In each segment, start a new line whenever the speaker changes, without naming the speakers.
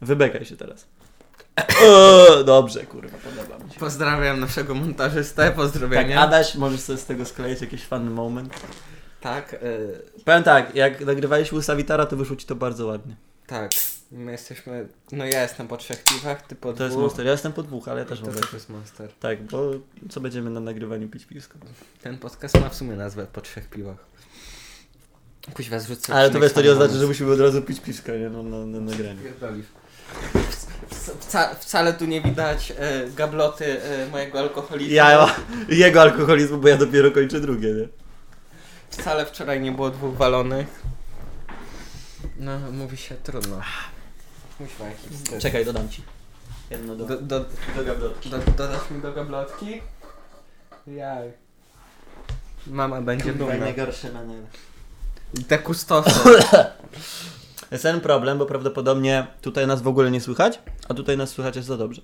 Wybekaj się teraz. Eee, Dobrze, kurwa, podoba mi się.
Pozdrawiam naszego montażystę,
Tak,
pozdrowienia.
Adaś, możesz sobie z tego skleić jakiś fun moment.
tak, y,
Powiem tak, jak nagrywaliśmy u Savitara, to wyszło ci to bardzo ładnie.
tak. My jesteśmy, no ja jestem po trzech piwach, ty po
To jest
dwóch.
monster. Ja jestem po dwóch, ale ja też
To
mogę.
też jest monster.
Tak, bo co będziemy na nagrywaniu pić piwsko?
Ten podcast ma w sumie nazwę po trzech piwach. Kuźwa, zrzucę
Ale to wiesz, to nie
odcinek
oznacza, że
sam
musimy od razu pić piwsko, nie? No, na, na nagraniu.
Pierdolisz. Wca- Wca, wcale tu nie widać e, gabloty e, mojego alkoholizmu.
Ja, jego alkoholizmu, bo ja dopiero kończę drugie, nie?
Wcale wczoraj nie było dwóch walonych. No, mówi się trudno. Kuźwa, jaki wstyd.
Czekaj, dodam ci. Jedno
Tak. Do, do,
do gablotki.
do, dodasz mi do gablotki? Jaj. Mama będzie dumna.
najgorszy maner.
Dekustosa.
Jest ten problem, bo prawdopodobnie tutaj nas w ogóle nie słychać, a tutaj nas słychać jest za dobrze.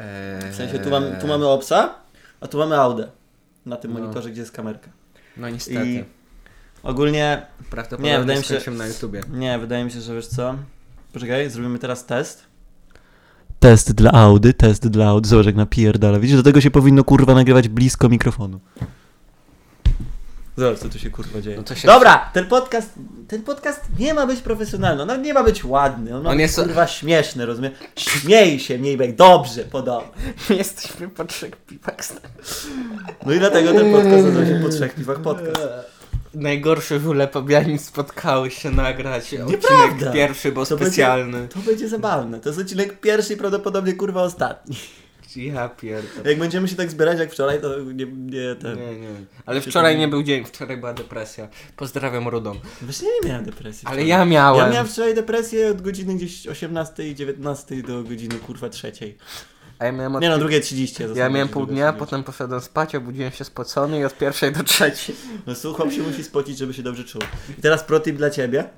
Eee, W sensie tu, mam, tu mamy OPSa, a tu mamy Audę na tym
Eee. No.
monitorze, gdzie jest kamerka.
No niestety.
I ogólnie,
Prawdopodobnie
Nie,
nie,
wydaje
wydaje
mi się-
na YouTubie.
nie, wydaje mi się, że wiesz co, poczekaj, zrobimy teraz test. Test dla Audy, test dla Audy, zobacz jak napierdala, widzisz, do tego się powinno kurwa nagrywać blisko mikrofonu. Zobacz, co tu się kurwa dzieje.
No to się-
Dobra, ten podcast, ten podcast nie ma być profesjonalny, on nawet nie ma być ładny, on ma
On
być
jest-
kurwa śmieszny, rozumiesz? Śmiej się, mniej bek, dobrze, podoba.
Jesteśmy po trzech piwach.
No i dlatego ten podcast nazywa się Po Trzech Piwach Podcast.
Najgorsze żule pobianin spotkały się nagrać.
Nieprawda.
Odcinek pierwszy, bo
To będzie-
specjalny.
To będzie zabawne. To jest odcinek pierwszy i prawdopodobnie kurwa ostatni.
Ja pierdolę.
Jak będziemy się tak zbierać jak wczoraj, to nie, nie ten.
Nie, nie. Ale wczoraj nie był dzień, wczoraj była depresja. Pozdrawiam Rudą.
Właśnie nie miałem depresji.
Ale
wczoraj.
ja miałem.
Ja miałem wczoraj depresję od godziny gdzieś 18 i 19 do godziny kurwa trzeciej.
A ja miałem od...
Nie no, drugie 30.
Ja miałem pół dnia, potem poszedłem spać, obudziłem się spocony i od pierwszej do trzeciej.
No słucham się musi spocić, żeby się dobrze czuł. I teraz protip dla ciebie.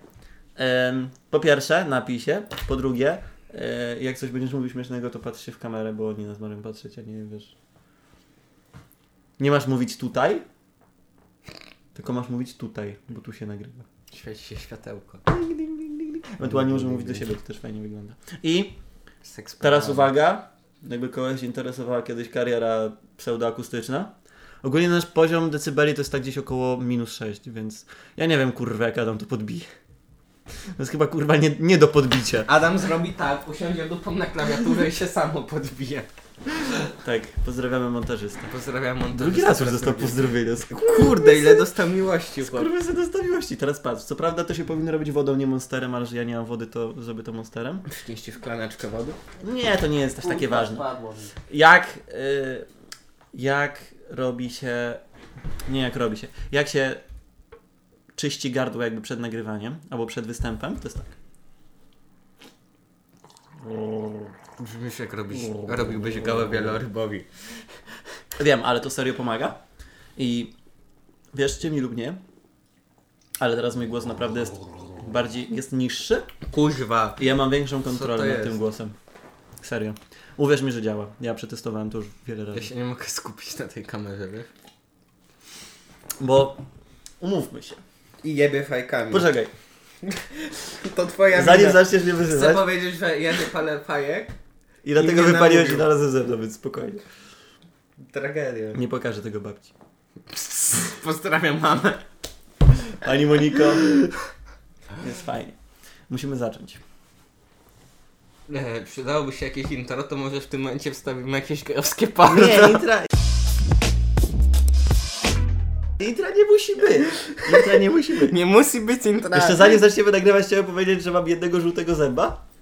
Em, po pierwsze, napij się. Po drugie, e, jak coś będziesz mówił śmiesznego, to patrz się w kamerę, bo oni nas mają patrzeć, a nie wiesz. Nie masz mówić tutaj, tylko masz mówić tutaj, bo tu się nagrywa.
Świeci się światełko.
Ewentualnie może mówić do siebie, to też fajnie wygląda. I
Seks
teraz uwaga, jakby kogoś interesowała kiedyś kariera pseudoakustyczna. Ogólnie nasz poziom decybeli to jest tak gdzieś około minus 6, więc ja nie wiem kurwa jak Adam to podbije. To jest chyba kurwa nie, nie do podbicia.
Adam zrobi tak, usiądzie dupą na klawiaturę i się samo podbije.
Tak, pozdrawiamy montażystę.
Pozdrawiam montażystę.
Drugi raz już dostał pozdrowienia.
Kurde, ile dostał miłości, chłop.
Kurwa sobie dostał miłości. Teraz patrz, co prawda to się powinno robić wodą, nie monsterem, ale że ja nie mam wody, to żeby to monsterem.
Przynieście szklaneczkę wody?
Nie, to nie jest aż takie ważne.
Padło mi.
Jak, y, jak robi się, nie jak robi się, jak się czyści gardło jakby przed nagrywaniem albo przed występem, to jest tak.
Brzmisz jak robisz, robiłbyś gałę wielorybowi.
Wiem, ale to serio pomaga i wierzcie mi lub nie, ale teraz mój głos naprawdę jest bardziej, jest niższy
Kuźwa.
i ja mam większą
to
kontrolę nad
jest?
tym głosem. Serio. Uwierz mi, że działa. Ja przetestowałem to już wiele razy.
Ja się nie mogę skupić na tej kamerze, wiesz?
Bo umówmy się.
I jebie fajkami.
Poczekaj,
To twoja
zanim
wina.
zaczniesz mnie
Chcę
wyzywać,
powiedzieć, że jebie palę fajek?
I dlatego
I mnie
wypaliłeś się
namówił.
na razem ze mną, więc spokojnie.
Tragedia.
Nie pokażę tego babci.
Pozdrawiam mamę.
Ani Moniko. Jest fajnie. Musimy zacząć.
E, przydałoby się jakieś intro, to może w tym momencie wstawimy jakieś gejowskie palce.
Nie, intra... Intra nie musi być. Intra nie musi być.
Nie musi być intro.
Jeszcze zanim zaczniemy nagrywać, chciałem powiedzieć, że mam jednego żółtego zęba.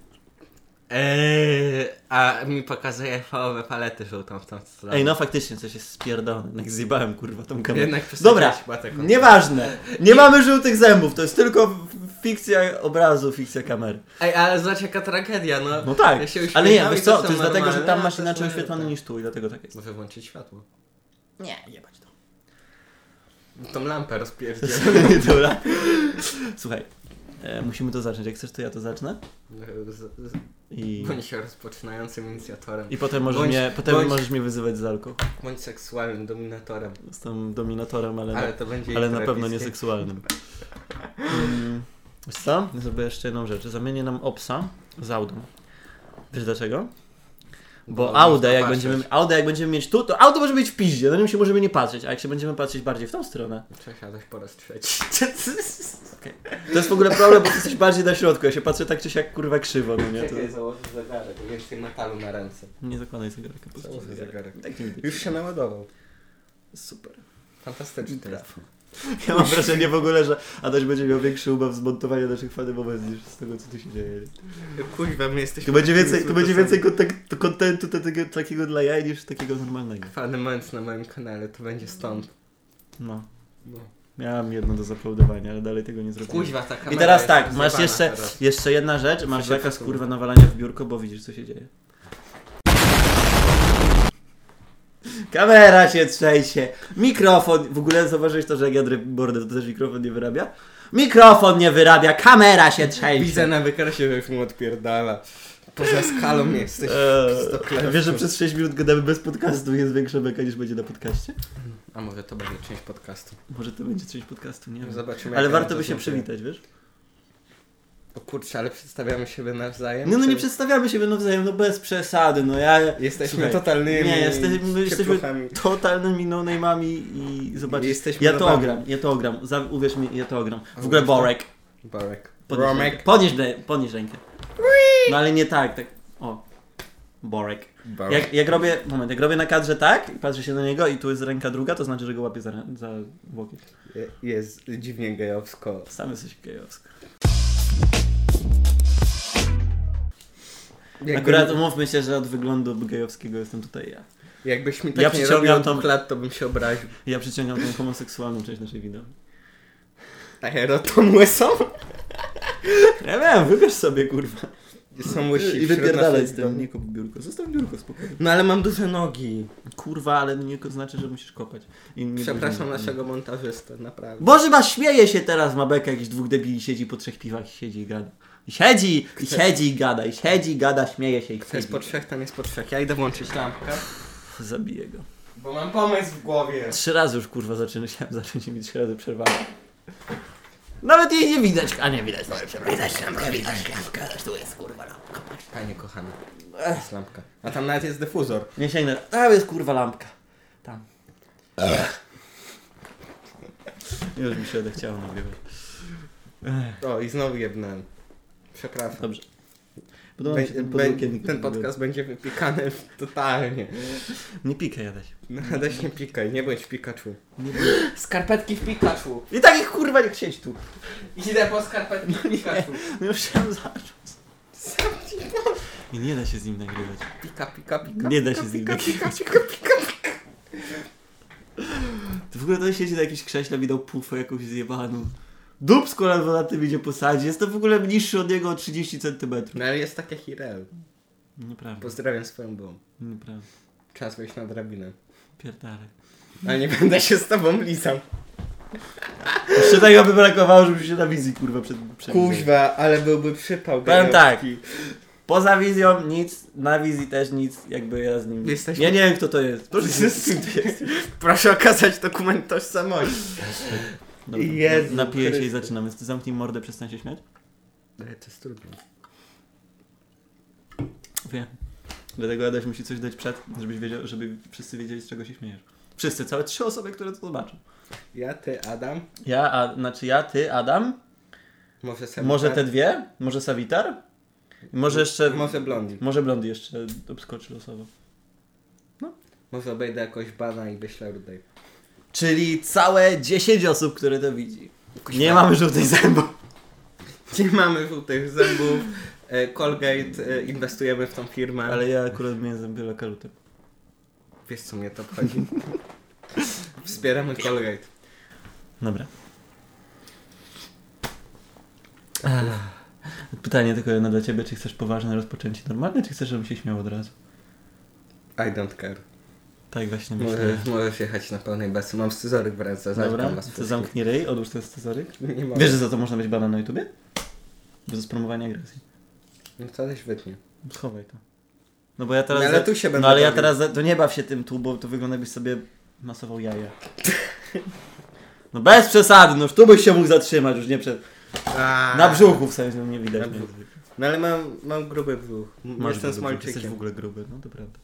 Eee, a mi pokazuje fałowe palety żółtą w tą stronę.
Ej, no faktycznie, coś jest spierdolone. Jednak zjebałem, kurwa, tą kamerę.
Jednak
Dobra,
przesadziłeś, Matek.
nieważne. Nie mamy żółtych zębów, to jest tylko fikcja obrazu, fikcja kamery.
Ej, ale zobacz jaka tragedia, no.
No tak,
Ja się
ale nie,
uśmiecham
wiesz
i
co,
są
to jest dlatego, że
normalne,
tam
a
masz
to
inaczej
są-
oświetlony niż tu i dlatego tak jest.
Muszę włączyć światło.
Nie, jebać to.
Tą lampę rozpierdziel.
Dobra. Słuchaj, e, musimy to zacząć. Jak chcesz, to ja to zacznę.
Z- z-
I,
Bądź się rozpoczynającym inicjatorem.
i potem, możesz
bądź-
mnie, potem
bądź-
możesz mnie wyzywać z alką.
Bądź seksualnym dominatorem.
Jestem dominatorem, ale,
Ale
ale,
to będzie
na, ale na pewno nie
interakcje.
seksualnym. Mm, Wiesz co? Zrobię jeszcze jedną rzecz. Zamienię nam Opsa z Audą. Wiesz dlaczego? Bo
Bo
Audę, jak
można
będziemy,
patrzeć.
Audę jak będziemy mieć tu, to Auto może być w piździe, na nim się możemy nie patrzeć, a jak się będziemy patrzeć bardziej w tą stronę.
Przesiadłeś po raz trzeci.
To jest w ogóle problem, bo ty jesteś bardziej na środku, ja się patrzę tak czy siak kurwa krzywo, no nie? To...
Czekaj, założę zegarek, bo więcej metalu na ręce.
Nie zakładaj zegarka. po prostu.
Założę zegarek.
Tak nie widać.
Już się naładował.
Super.
Fantastyczny traf.
Ja mam wrażenie w ogóle, że Adaś będzie miał większy ubaw z montowania naszych fanów obecnie niż z tego, co tu się dzieje.
Kuźwa, my jesteśmy...
Tu będzie więcej, tu
takim
będzie
złotym
więcej kontek- kontentu takiego, takiego dla jaj niż takiego normalnego.
Fany męc na moim kanale, to będzie stąd.
No.
No.
Miałem jedno do zaplaudowania, ale dalej tego nie zrobiłem.
Kuźwa, ta kamera
I teraz
jest
tak, masz
zjebana
jeszcze,
teraz.
jeszcze jedna rzecz, masz
się
zakaz
popsuło?
kurwa nawalania w biurko, bo widzisz co się dzieje. Kamera się trzęsie, mikrofon, w ogóle zauważyłeś to, że jak ja dryb bordę, to też mikrofon nie wyrabia? Mikrofon nie wyrabia, kamera się trzęsie.
Widzę na wykresie, że już mu odpierdala. Poza skalą jesteś.
Eee, wiesz, że przez 6 minut gadamy bez podcastu, jest większa beka niż będzie na podcaście?
A może to będzie część podcastu.
Może to będzie część podcastu, nie wiem.
Zobaczymy.
Ale
jak
warto
to
by się
zrobię.
przywitać, wiesz?
O kurczę, ale przedstawiamy siebie nawzajem.
No, no nie
Czy-
przedstawiamy się nawzajem, no bez przesady, no ja...
Jesteśmy
Słuchaj,
totalnymi.
Nie, jesteśmy, jesteśmy
ciepluchami.
totalnymi no-name'ami i zobacz,
Jesteśmy
ja to
nowami.
ogram, ja to ogram, Za, uwierz mi, ja to ogram. W
A
ogóle
wiesz co?
Borek,
Borek.
podnieś,
Romek.
rękę. Podnieś, rę- podnieś rękę. No ale nie tak, tak, o, Borek.
Borek.
Jak, jak robię, moment, jak robię na kadrze tak i patrzę się na niego i tu jest ręka druga, to znaczy, że go łapię za, rę- za łokieć.
Je- Jest dziwnie gejowsko.
Sam jesteś gejowski.
Jakby,
Akurat umówmy się, że od wyglądu gejowskiego jestem tutaj ja.
Jakbyś mi
Ja
tak nie
przyciągam
robił od
tą-
dwóch lat, to bym się obraził.
Ja przyciągam tą homoseksualną część naszej wideo.
A Herotom łysą?
Ja wiem, wybierz sobie kurwa.
Są łysi
I
wśród
wypierdalaj
naszych
z tym.
domów.
Nie kop biurko, zostaw biurko spokojnie.
No ale mam duże nogi.
Kurwa, ale nie znaczy, że musisz kopać. I nie
Przepraszam
będziemy-
naszego montażystę, naprawdę.
Boże, ma śmieje się teraz, ma beka, jakiś dwóch debili siedzi po trzech piwach i siedzi i gada. I siedzi, i siedzi i gada, i siedzi i gada, śmieje się i
To
siedzi.
jest po trzech, tam jest po trzech. Ja idę włączyć lampkę.
Pff, Zabiję go.
Bo mam pomysł w głowie.
Trzy razy już kurwa zaczynałem, zacząć mi trzy razy przerwałem. Nawet jej nie widać, a nie widać, moje przepraszam. Widać lampkę, widać lampkę, tu jest kurwa no. lampka.
Panie kochany, jest lampka. A tam nawet jest dyfuzor.
Nie sięgnę, tam jest kurwa lampka. Tam. Już mi się odechciało nagrywać.
O, i znowu jebnąłem. Przepraszam.
Dobrze. Podoba mi się ten,
Be-
podróż,
be-
kiedy-
ten podcast będzie wypikany w- totalnie.
Nie pikaj, Adaś.
No, Adaś nie pikaj, nie bądź Pikachu.
Nie
Skarpetki w Pikachu.
I tak ich kurwa nie chcieć tu.
Idę po skarpetki w Pikachu.
No już chciałem zacząć. Nie, nie da się z nim nagrywać.
Pika, pika, pika.
Nie da
pika,
się z nim
pika, pika,
nagrywać.
pika, pika.
To w ogóle to siedzi na jakimś krześle, widał pufę jakąś zjebaną. Dup z kolana na tym idzie po sadzie. Jest to w ogóle niższy od niego o 30 cm.
No ale jest takie Hirel.
Nieprawda,
Pozdrawiam swoją byłą.
nieprawda.
Czas wejść na drabinę.
Pierdalek.
Ale nie będę się z tobą lizał.
Jeszcze tego by brakowało, żeby się na wizji kurwa przed... przed
Kuźwa, ale byłby przypał.
Powiem tak.
gejowski.
Poza wizją nic, na wizji też nic, jakby ja z nim...
Jesteśmy-
Ja nie wiem kto to jest.
To jest- Proszę okazać dokument tożsamości.
Dobra,
Jezu
napiję się i
Chryste.
zaczynam. Więc ty zamknij mordę, przestań się śmiać.
Ale to jest trudne.
Wiem. Dlatego Adaś musi coś dać przed, żebyś wiedział, żeby wszyscy wiedzieli, z czego się śmiejesz. Wszyscy, całe trzy osoby, które to zobaczą.
Ja, ty, Adam.
Ja, a, znaczy ja, ty, Adam,
Może Sam.
może te dwie, może Sawitar, może jeszcze,
Może Blondi.
może Blondy jeszcze obskoczy losowo.
Może obejdę jakoś bana i wyślę rudej.
Czyli całe 10 osób, które to widzi. Nie
Kuźwa.
mamy żółtych zębów.
Nie mamy żółtych zębów. E, Colgate, e, inwestujemy w tą firmę. Ale
Ale ja akurat miałem zęby lokalutem.
wiesz co mnie to obchodzi. Wspieramy Colgate.
Dobra. Ech. Pytanie tylko jedno dla ciebie, czy chcesz poważne rozpoczęcie normalne, czy chcesz, żebym się śmiał od razu?
I don't care.
Tak właśnie myślę.
Możesz, możesz jechać na pełnej besy. Mam scyzoryk w ręce.
Dobra,
zaćgam was
to
wszystkich.
zamknij ryj, odłóż ten scyzoryk.
Nie mogę.
Wiesz, że za to można być bana na YouTubie? Bez promowania agresji.
No to też wytnie.
Schowaj to. No bo ja teraz...
No ale tu się będę
No ale ja
bawił.
teraz... za- To nie baw się tym tu, bo to wygląda jakbyś sobie masował jaja. No bez przesady, no już tu byś się mógł zatrzymać, już nie przed...
A,
Na brzuchu w sensie nie
Na
widać. Nie?
brzuchu. No ale mam, mam gruby brzuch. M-
Masz
Jestem
gruby brzuch, Jesteś w
smalczykiem.
ogóle gruby, no to prawda.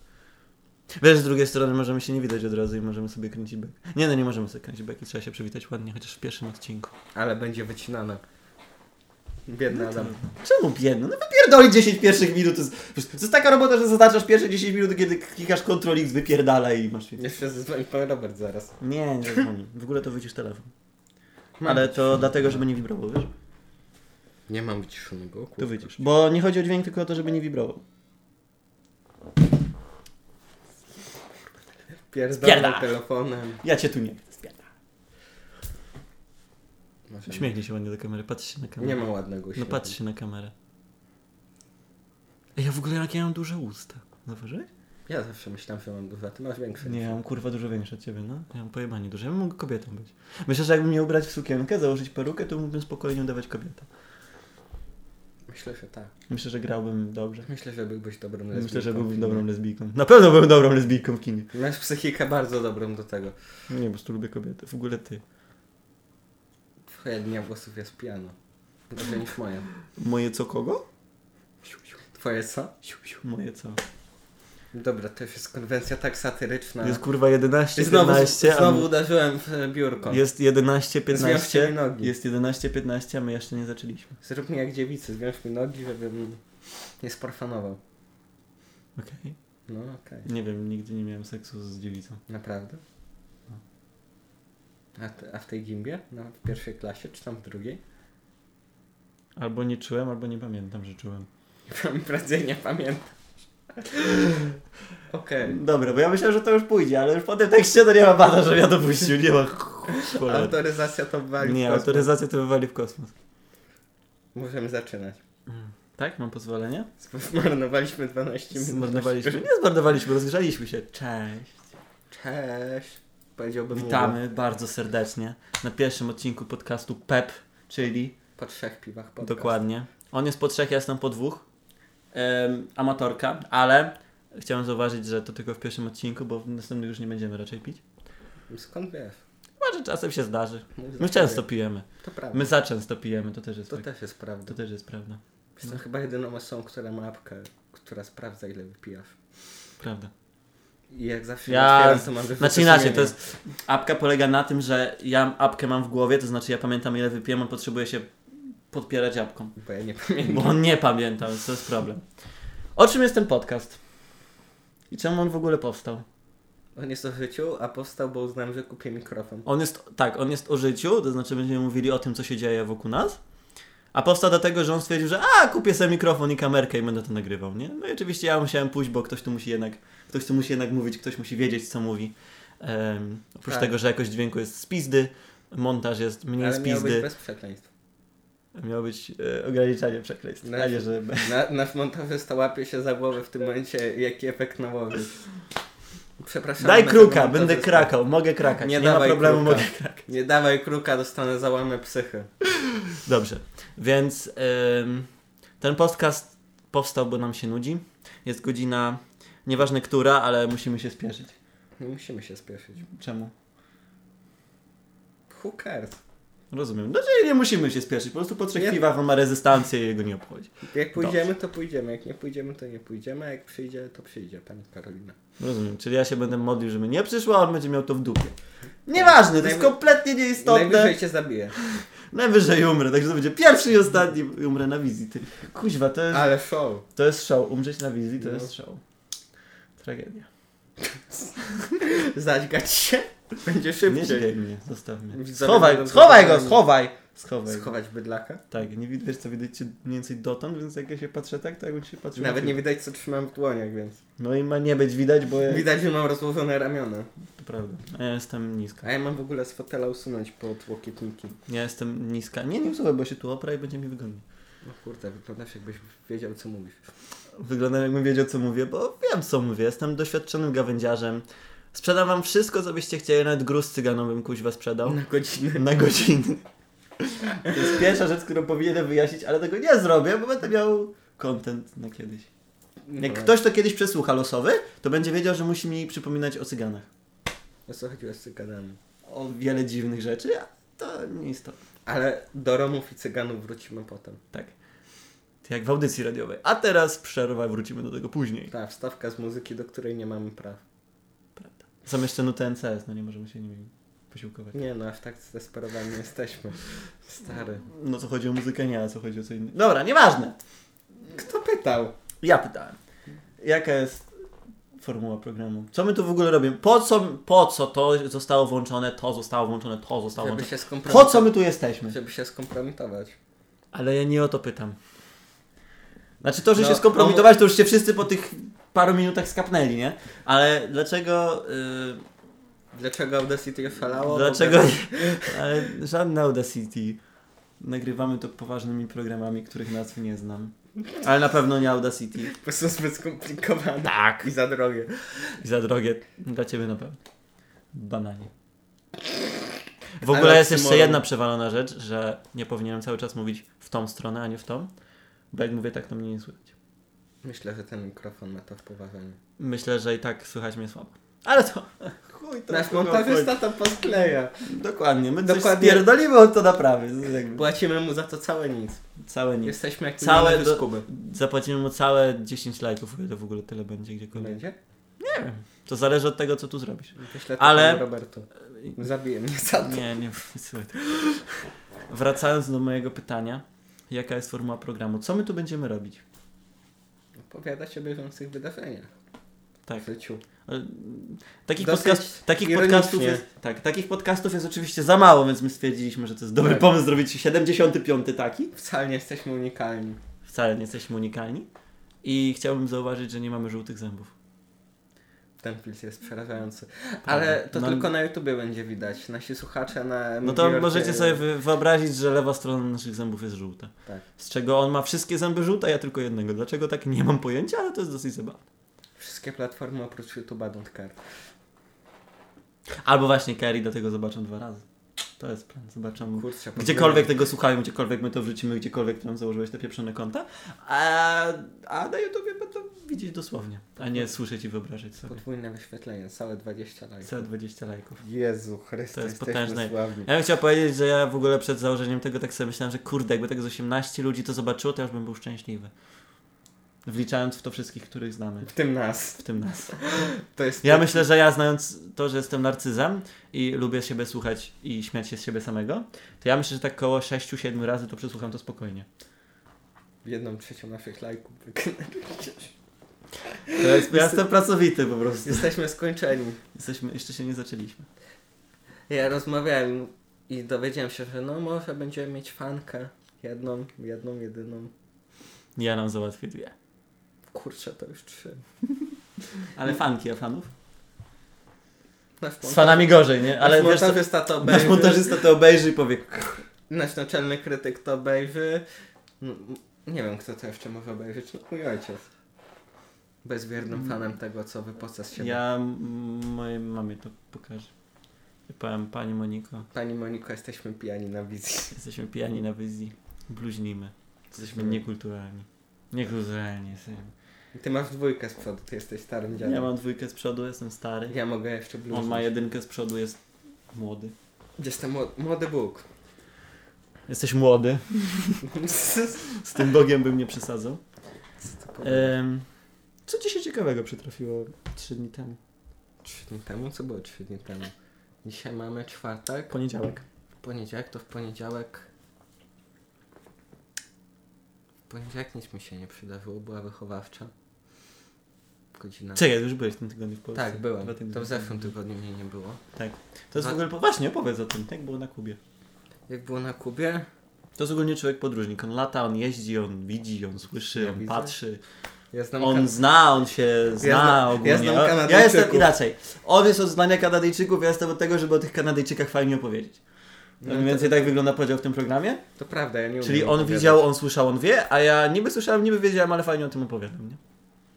Wiesz, z drugiej strony możemy się nie widać od razu i możemy sobie kręcić bek. Nie no, nie możemy sobie kręcić beki, trzeba się przywitać ładnie, chociaż w pierwszym odcinku.
Ale będzie wycinane. Biedny Adam.
No Czemu biedny? No wypierdoli 10 pierwszych minut. To jest, to jest taka robota, że zaznaczasz pierwsze 10 minut, kiedy klikasz Ctrl X, wypierdala i masz...
Jeszcze zadzwoni pan Robert zaraz.
Nie, nie dzwoni. W ogóle to wycisz telefon.
Mam.
Ale to dlatego, żeby nie wibrował, wiesz?
Nie mam wyciszonego. kurwa.
To wycisz. Bo nie chodzi o dźwięk, tylko o to, żeby nie wibrował. Spierdala.
Pierdolę telefonem.
Ja cię tu nie chcę. spierdala.
Masz-
Śmiechnie się ładnie do kamery, patrz się na kamerę.
Nie ma ładnego
No
śmiechu.
patrz się na kamerę. Ej, Ja w ogóle jakie mam duże usta. Zauważyłeś?
Ja zawsze myślałem, że mam dużo, a ty masz większe.
Nie, ja mam kurwa dużo większe od ciebie, no. Ja mam pojebanie duże. Ja bym mógł kobietą być. Myślę, że jakbym mnie ubrać w sukienkę, założyć perukę, to mógłbym spokojnie udawać kobietę.
Myślę, że tak.
Myślę, że grałbym dobrze.
Myślę, że byłbyś dobrym
Myślę, że
lesbijką.
byłbym dobrą lesbijką. Na pewno byłem dobrą lesbijką w kinie.
Masz psychikę bardzo dobrą do tego.
Nie, po prostu lubię kobiety. W ogóle ty.
Twoja dnia włosów jest piano. Gorzej niż moja.
Moje co kogo?
Twoje co?
Moje co?
Dobra, to już jest konwencja tak satyryczna.
Jest kurwa 11,
I znowu,
15,
znowu
a
uderzyłem w e, biurko.
my... jest 11,
Zwiążcie
15,
mi nogi.
jest 11, 15, a my jeszcze nie zaczęliśmy.
Zrób mi jak dziewicy, zwiąż mi nogi, żebym nie sparfanował.
Okej.
No okej,
Nie wiem, nigdy nie miałem seksu z dziewicą.
naprawdę? A, te- a w tej gimbie? Na w pierwszej klasie, czy tam w drugiej?
Albo nie czułem, albo nie pamiętam, że czułem.
Prędzej nie pamiętam. Okej.
Dobra, bo ja myślałem, że to już pójdzie, ale już po tym tekście to nie ma bada, że ja dopuścił, nie ma cholery.
Autoryzacja to wali.
Nie,
w kosmos.
autoryzacja to wywali w kosmos.
Możemy zaczynać.
Tak? Mam pozwolenie?
Zmarnowaliśmy 12 minut.
Zmarnowaliśmy. Nie zmarnowaliśmy, rozgrzaliśmy się. Cześć.
Cześć. Powiedziałbym Ugo.
Witamy bardzo serdecznie na pierwszym odcinku podcastu PEP, czyli
Po trzech piwach podcast.
Dokładnie. On jest po trzech, ja jestem po dwóch. Em, amatorka, ale chciałem zauważyć, że to tylko w pierwszym odcinku, bo w następnym już nie będziemy raczej pić.
No Skąd wiesz?
Może czasem się zdarzy.
Mój
My
zapowiedź.
często pijemy.
To prawda.
My za często pijemy, to też jest
No, Tak. To tak.
fakt.
też jest prawda.
To też jest prawda.
Jestem chyba jedyną osobą, która ma apkę, która sprawdza ile wypijasz.
Prawda.
I jak zawsze
Ja-
ja... otwieram, to mam wyrzuty
Znaczy inaczej, to
sumienia.
jest. Apka polega na tym, że ja apkę mam w głowie, to znaczy ja pamiętam ile wypiłem, on potrzebuje się podpierać apką.
Bo ja nie pamiętam.
Bo on nie pamięta, więc to jest problem. O czym jest ten podcast? I czemu on w ogóle powstał?
On jest o życiu, a powstał, bo uznałem, że kupię mikrofon.
On jest, tak, on jest o życiu, to znaczy będziemy mówili o tym, co się dzieje wokół nas. A powstał dlatego, że on stwierdził, że a, kupię sobie mikrofon i kamerkę i będę to nagrywał, nie? No i oczywiście ja musiałem pójść, bo ktoś tu musi jednak, ktoś tu musi jednak mówić, ktoś musi wiedzieć, co mówi. Em, oprócz
Tak.
tego, że jakość dźwięku jest z pizdy, montaż jest mniej
Ale
z
miał być
pizdy.
bez przekleństw.
Miało być e, ograniczanie przekleństw.
No.
No. A nie, że...
Na, nasz montażysta łapie się za głowę w tym momencie, jaki efekt nałożyć. Przepraszam.
Daj
na
kruka,
tego
będę
montażysta.
krakał, mogę krakać,
Nie
nie, ma
dawaj
problemu,
kruka.
mogę krakać.
Nie dawaj kruka, dostanę załamy psychy.
Dobrze, więc ym, ten podcast powstał, bo nam się nudzi. Jest godzina, nieważne która, ale musimy się spieszyć.
Nie musimy się spieszyć.
Czemu?
Who cares?
Rozumiem. Znaczy nie musimy się spieszyć, po prostu po trzech
Nie.
piwach on ma rezystancję i jego nie obchodzi.
Jak pójdziemy, to pójdziemy. Jak nie pójdziemy, to nie pójdziemy. A jak przyjdzie, to przyjdzie, pani Karolina.
Rozumiem, czyli ja się będę modlił, żeby nie przyszło, a on będzie miał to w dupie. Nieważne, to jest
Najwy-
kompletnie nieistotne.
Najwyżej cię zabiję.
Najwyżej umrę, także to będzie pierwszy i ostatni umrę na wizji. Ty. Kuźwa, to jest,
Ale show.
to jest show. Umrzeć na wizji to
No.
jest show. Tragedia.
Zadźgać się? Będzie
Nie
szybciej.
śmiej mnie, zostaw mnie.
Widzowie
Schowaj,
będą
schowaj go,
zadowoleni.
schowaj! Schowaj. go.
Schować bydlaka?
Tak, nie widać, co widać cię mniej więcej dotąd, więc jak ja się patrzę tak, to jakbym się patrzył. na
Nawet nie
piłkę.
widać, co trzymam w dłoniach, więc.
No i ma nie być widać, bo ja...
Widać, że mam rozłożone ramiona.
To prawda. A ja jestem niska.
A ja mam w ogóle z fotela usunąć pod łokietniki.
Ja jestem niska. Nie, nie usuwaj, bo się tu opra i będzie mi wygodnie.
No kurde, wyglądasz jakbyś wiedział, co mówisz.
Wyglądam jakbym wiedział, co mówię, bo wiem, co mówię. Jestem doświadczonym gawędziarzem. Sprzedam wam wszystko, co byście chcieli, nawet gruz cyganowym kuźwa sprzedał.
Na godzinę.
Na godziny. To jest pierwsza rzecz, którą powinienem wyjaśnić, ale tego nie zrobię, bo będę miał content na kiedyś. Jak
Dobra.
ktoś to kiedyś przesłucha losowy, to będzie wiedział, że musi mi przypominać o cyganach.
O co chodziło z cyganami?
O wiele dziwnych rzeczy, a to nie istotne.
Ale do Romów i Cyganów wrócimy potem.
Tak. To Jak w audycji radiowej. A teraz przerwa, wrócimy do tego później.
Ta wstawka z muzyki, do której nie mamy praw.
Są jeszcze nuty NCS, no nie możemy się nimi posiłkować.
Nie no, aż tak zdesperowani jesteśmy. Stary.
No co chodzi o muzykę, nie, a co chodzi o co innego. Dobra, nieważne.
Kto pytał?
Ja pytałem. Jaka jest formuła programu? Co my tu w ogóle robimy? Po co, po co to zostało włączone, to zostało włączone, to zostało
Żeby
włączone?
się
Po
skompromitować.
co my tu jesteśmy?
Żeby się skompromitować.
Ale ja nie o to pytam. Znaczy to, że
No,
się skompromitować, to już się wszyscy po tych paru minutach skapnęli, nie? Ale dlaczego... y,
Dlaczego Audacity je falało?
Dlaczego? Ale żadne Audacity. Nagrywamy to poważnymi programami, których nazw nie znam. Ale na pewno nie Audacity.
Bo są zbyt skomplikowane.
Tak.
I za drogie.
I za drogie. Dla ciebie na pewno. Bananie. W
Ale
ogóle jest jeszcze
oksymorą.
jedna przewalona rzecz, że nie powinienem cały czas mówić w tą stronę, a nie w tą. Bo jak mówię tak, to mnie nie słychać.
Myślę, że ten mikrofon ma to w poważeniu.
Myślę, że i tak słychać mnie słabo. Ale to... Chuj, to
Nasz
kogo
montażysta to poskleja.
chodzi. Dokładnie. My Dokładnie.
Dokładnie.
spierdolimy od to naprawy. To jakby
Płacimy mu za to całe nic.
Całe nic.
Jesteśmy jak
Całe
całe
do-
z Kuby.
Zapłacimy mu całe 10 lajków, o ile w ogóle tyle będzie gdziekolwiek.
Będzie?
To zależy od tego, co tu zrobisz.
Wyślę to
Ale-
panu Robertu. Zabije mnie za to.
Nie, nie, słuchaj. Wracając do mojego pytania, jaka jest formuła programu? Co my tu będziemy robić?
Opowiadać o bieżących wydarzeniach
Tak.
w życiu.
Ale, Takich,
Dosyć
podcast, takich
ironicznie.
podcastów jest, tak, takich podcastów jest oczywiście za mało, więc my stwierdziliśmy, że to jest dobry
Tak.
pomysł zrobić 75 taki.
Wcale nie jesteśmy unikalni.
Wcale nie jesteśmy unikalni. I chciałbym zauważyć, że nie mamy żółtych zębów.
Ten filtr jest przerażający. Ale to
No-
tylko na YouTubie będzie widać. Nasi słuchacze na...
No to możecie sobie wy- wyobrazić, że lewa strona naszych zębów jest żółta.
Tak.
Z czego on ma wszystkie zęby żółte, a ja tylko jednego. Dlaczego tak nie mam pojęcia, ale to jest dosyć zabawne.
Wszystkie platformy oprócz YouTube'a don't care.
Albo właśnie Kerry do tego zobaczą dwa razy. To jest plan. Zobaczą.
Kurczę,
Gdziekolwiek tego słuchają, gdziekolwiek my to wrzucimy, gdziekolwiek tam założyłeś te pieprzone konta, a, a na YouTubie będą widzieć dosłownie, a nie słyszeć i wyobrażać sobie.
Podwójne wyświetlenie, całe 20 lajków.
Całe 20 lajków.
Jezu Chryste,
To jest
jesteśmy
potężne.
sławni.
Ja bym chciał powiedzieć, że ja w ogóle przed założeniem tego tak sobie myślałem, że kurde, jakby tego z 18 ludzi to zobaczyło, to ja już bym był szczęśliwy. Wliczając w to wszystkich, których znamy,
W tym nas.
w tym nas.
To jest...
Ja myślę, że ja znając to, że jestem narcyzem i lubię siebie słuchać i śmiać się z siebie samego, to ja myślę, że tak koło 6-7 razy to przesłucham to spokojnie.
Jedną trzecią naszych lajków.
To jest, ja jestem pracowity po prostu.
Jesteśmy skończeni.
Jesteśmy, jeszcze się nie zaczęliśmy.
Ja rozmawiałem i dowiedziałem się, że no może będziemy mieć fankę. Jedną, jedną, jedyną.
Ja nam załatwię dwie.
Kurczę, to już trzy.
Ale fanki, a fanów?
Nasz
Z
monta-
fanami gorzej, nie? Ale
nasz
wiesz, co,
montażysta to
nasz
obejrzy.
montażysta to obejrzy i powie
Nasz naczelny krytyk to obejrzy. Mm, Nie wiem, kto to jeszcze może obejrzeć. No, mój ojciec. Bezwiernym fanem tego, co wypoca z siebie.
Mm. Ja m- mojej mamie to pokażę. I Powiem, pani Moniko,
Pani Moniko, jesteśmy pijani na wizji.
jesteśmy pijani na wizji, bluźnimy. Jesteśmy niekulturalni. Niekulturalni jesteśmy.
Ty masz dwójkę z przodu, ty jesteś starym dziadem.
Ja mam dwójkę z przodu, jestem stary.
Ja mogę jeszcze blues.
On ma jedynkę z przodu, jest młody.
Jestem młody, młody Bóg.
Jesteś młody. Z tym Bogiem bym nie przesadzał. Em, co ci się ciekawego przytrafiło trzy dni temu?
Trzy dni temu? Co było trzy dni temu? Dzisiaj mamy czwartek.
Poniedziałek.
Poniedziałek to w poniedziałek. W poniedziałek nic mi się nie przydarzyło, była wychowawcza. Godzina.
Czekaj, już byłeś w tym tygodniu w Polsce.
Tak, byłem.
Dwa tygodnie
To w
temu.
zeszłym tygodniu mnie nie było.
To jest w ogóle, po- właśnie opowiedz o tym, tak było na Kubie.
Jak było na Kubie?
To jest ogólnie człowiek podróżnik, on lata, on jeździ, on widzi, on słyszy,
Ja
on
widzę.
patrzy,
Ja znam
on
kan-
zna, on się zna
znam- ja
ogólnie.
znam
O- ja
Kanadyjczyków.
jestem inaczej, on jest od znania Kanadyjczyków, ja jestem od tego, żeby o tych Kanadyjczykach fajnie opowiedzieć. No,
No
mniej
to-
więcej tak wygląda podział w tym programie,
To prawda, ja nie
czyli
umiem
on
opowiadać.
widział, on słyszał, on wie, a ja niby słyszałem, niby wiedziałem, ale fajnie o tym opowiadam, nie?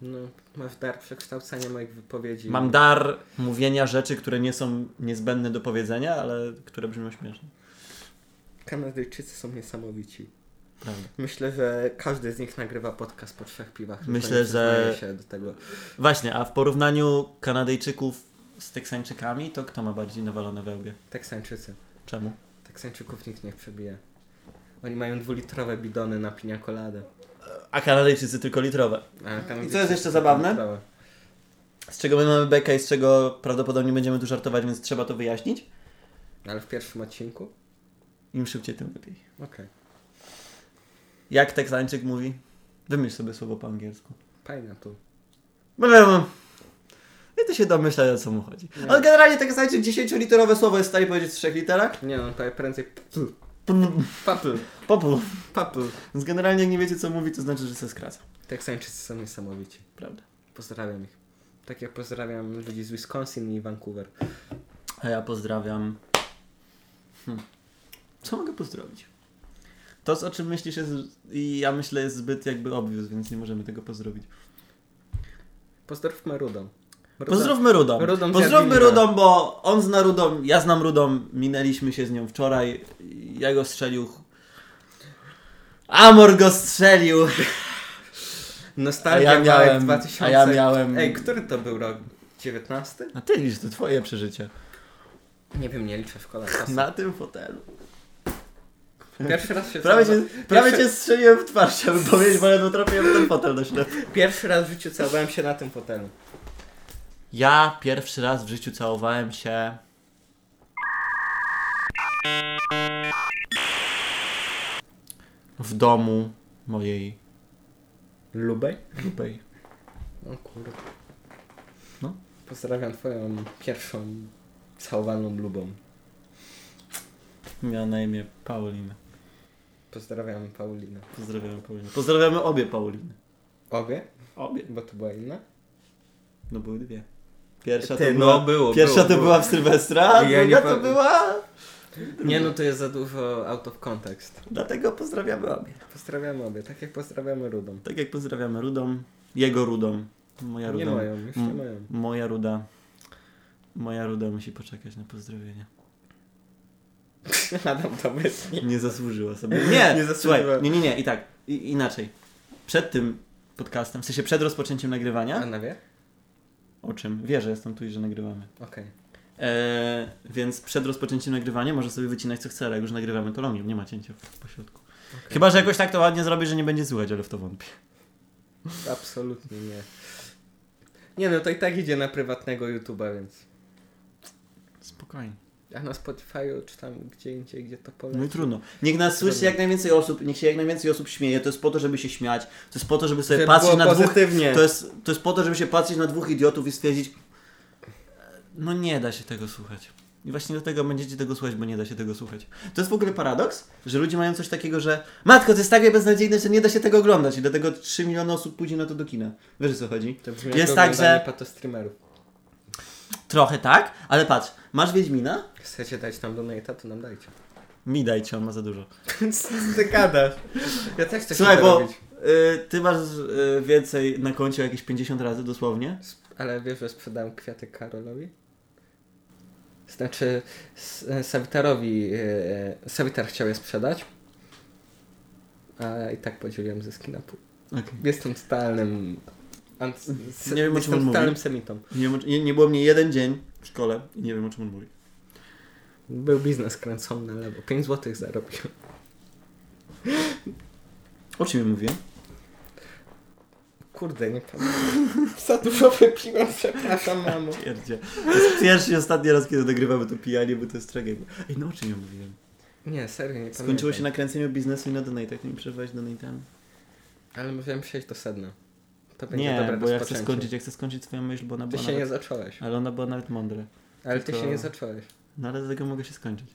No, masz dar przekształcania moich wypowiedzi.
Mam dar mówienia rzeczy, które nie są niezbędne do powiedzenia, ale które brzmią śmiesznie.
Kanadyjczycy są niesamowici.
Prawda.
Myślę, że każdy z nich nagrywa podcast po trzech piwach. tylko
Myślę,
nie przyznaję
że-
się do tego.
Właśnie, a w porównaniu Kanadyjczyków z Teksańczykami, to kto ma bardziej nawalone wełbie?
Teksańczycy.
Czemu?
Teksańczyków nikt nie przebije. Oni mają dwulitrowe bidony na pinia coladę.
A Kanadyjczycy tylko litrowe.
A tam
I
gdzieś
co jest jeszcze
są
zabawne?
litrowe.
Z czego my mamy bekę i z czego prawdopodobnie będziemy tu żartować, więc trzeba to wyjaśnić.
No, Ale w pierwszym odcinku?
Im szybciej, tym lepiej.
Okej.
Jak Teksańczyk mówi? Wymyśl sobie słowo po angielsku. No,
Pineapple.
Blablabla. I to się domyśla, o co mu chodzi.
Nie.
Ale generalnie Teksańczyk 10-literowe słowo jest w stanie powiedzieć w trzech literach.
Nie, on powie prędzej pl,
Pn-
papl,
Popu.
papl.
Więc generalnie jak nie wiecie, co mówi, to znaczy, że się skraca.
Teksańczycy są niesamowici.
Prawda.
Pozdrawiam ich. Tak jak pozdrawiam ludzi z Wisconsin i Vancouver.
A ja pozdrawiam. Hm. Co mogę pozdrowić? To, z- o czym myślisz, jest, i ja myślę, jest zbyt jakby obvious, więc nie możemy tego pozdrowić.
Pozdrówmy Rudą. Ruda-
Pozdrówmy Rudą.
Rudom
Pozdrówmy
zjadł windę.
Rudą, bo on zna Rudą, ja znam Rudą, minęliśmy się z nią wczoraj. Ja go strzelił. Amor go strzelił!
Nostalgia
A ja
Wałek
miałem-
2000.
a ja miałem-
Ej, który to był rok? 19?
A ty licz, to twoje przeżycie.
Nie wiem, nie liczę w kolei.
Na tym fotelu.
Pierwszy raz się
Prawie cię,
całowałem-
prawie cię
pierwszy,
strzeliłem w twarz, chciałbym powiedzieć, bo ledwo trafiłem w ten fotel do ślepu.
pierwszy raz w życiu całowałem się na tym fotelu.
Ja pierwszy raz w życiu całowałem się. W domu mojej
Lubej?
lubej.
No kurde.
No.
Pozdrawiam twoją pierwszą całowaną lubą.
Miała na imię Paulina.
Pozdrawiam Paulinę.
Pozdrawiamy Paulinę. Pozdrawiamy obie Pauliny.
Obie?
Obie.
Bo to była inna?
No były dwie. Pierwsza
Ty,
to
no,
była,
było,
pierwsza
było,
to
było.
była w Sylwestra, a
Ja nie
druga to
pamię-
była...
Nie no, to jest za dużo out of context.
Dlatego pozdrawiamy obie.
Pozdrawiamy obie, tak jak pozdrawiamy Rudą.
Tak jak pozdrawiamy Rudą, jego Rudą, moja Ruda.
Nie mają, już nie
Mm.
mają.
Moja Ruda. Moja Ruda musi poczekać na pozdrowienia.
Adam to myśli.
Nie zasłużyła sobie.
Nie,
nie
nie
zasłużyła.
zasłużyła.
Słuchaj, nie, nie, nie, i tak, i, inaczej. Przed tym podcastem, w sensie przed rozpoczęciem nagrywania,
Anna wie?
o czym wie, że jestem tu i że nagrywamy.
Okej.
Eee, więc przed rozpoczęciem nagrywania może sobie wycinać co chce, ale jak już nagrywamy to longiem, nie ma cięcia w pośrodku. Chyba, że jakoś tak to ładnie zrobię, że nie będzie słychać, ale w to wątpię.
Absolutnie nie. Nie no, to i tak idzie na prywatnego YouTube'a, więc...
Spokojnie.
A na Spotify'u czy tam gdzie indziej, gdzie to poleci.
No i trudno. Niech nas słyszy jak najwięcej osób, niech się jak najwięcej osób śmieje. To jest po to, żeby się śmiać. To jest po to, żeby sobie
Żeby
patrzeć
było
na dwóch...
pozytywnie.
To jest, to jest po to, żeby się patrzeć na dwóch idiotów i stwierdzić no nie da się tego słuchać. I właśnie dlatego będziecie tego słuchać, bo nie da się tego słuchać. To jest w ogóle paradoks, że ludzie mają coś takiego, że matko, to jest takie beznadziejne, że nie da się tego oglądać i dlatego 3 miliony osób pójdzie na to do kina. Wiesz o co chodzi?
To brzmi
Jest
jak
tak,
oglądanie
że-
patostreamerów.
Trochę tak, ale patrz, masz Wiedźmina?
Chcecie dać nam donate'a, to nam dajcie.
Mi dajcie, on ma za dużo.
Ty gadasz. Ja też chcę
Słuchaj,
się
bo
dorobić.
y, ty masz y, więcej na koncie jakieś 50 razy dosłownie.
Sp- Ale wiesz, że sprzedałem kwiaty Karolowi? Znaczy, S- e, Sawitarowi... e, Sawitar chciał je sprzedać. A i tak podzieliłem zyski na pół. Jestem totalnym... Ant- se-
Nie wiem, o czym on
jestem
mówi.
totalnym semitą.
Nie, wiem, o czy- nie, nie było mnie jeden dzień w szkole i nie wiem o czym on mówi.
Był biznes kręcony na lewo. 5 zł zarobiłem.
O czym ja mówiłem?
Kurde, nie pamiętam. Za dużo wypiłem, przepraszam mamo.
Pierdzie. To jest pierwszy i ostatni raz, kiedy nagrywamy to pijanie, bo to jest tragedia. Ej, no o czym ja mówiłem?
Nie, serio, nie pamiętam.
Skończyło się na kręceniu biznesu i na donatach. Nie przerwałeś donatami.
Ale możemy przejść do sedna. To będzie
Nie,
dobre
bo ja chcę
rozpoczęcie.
skończyć, ja chcę skończyć swoją myśl, bo ona
Ty
była
się nie
nawet,
zacząłeś.
Ale ona była nawet mądra.
Ale ty
tylko-
się nie zacząłeś.
No ale dlatego mogę się skończyć.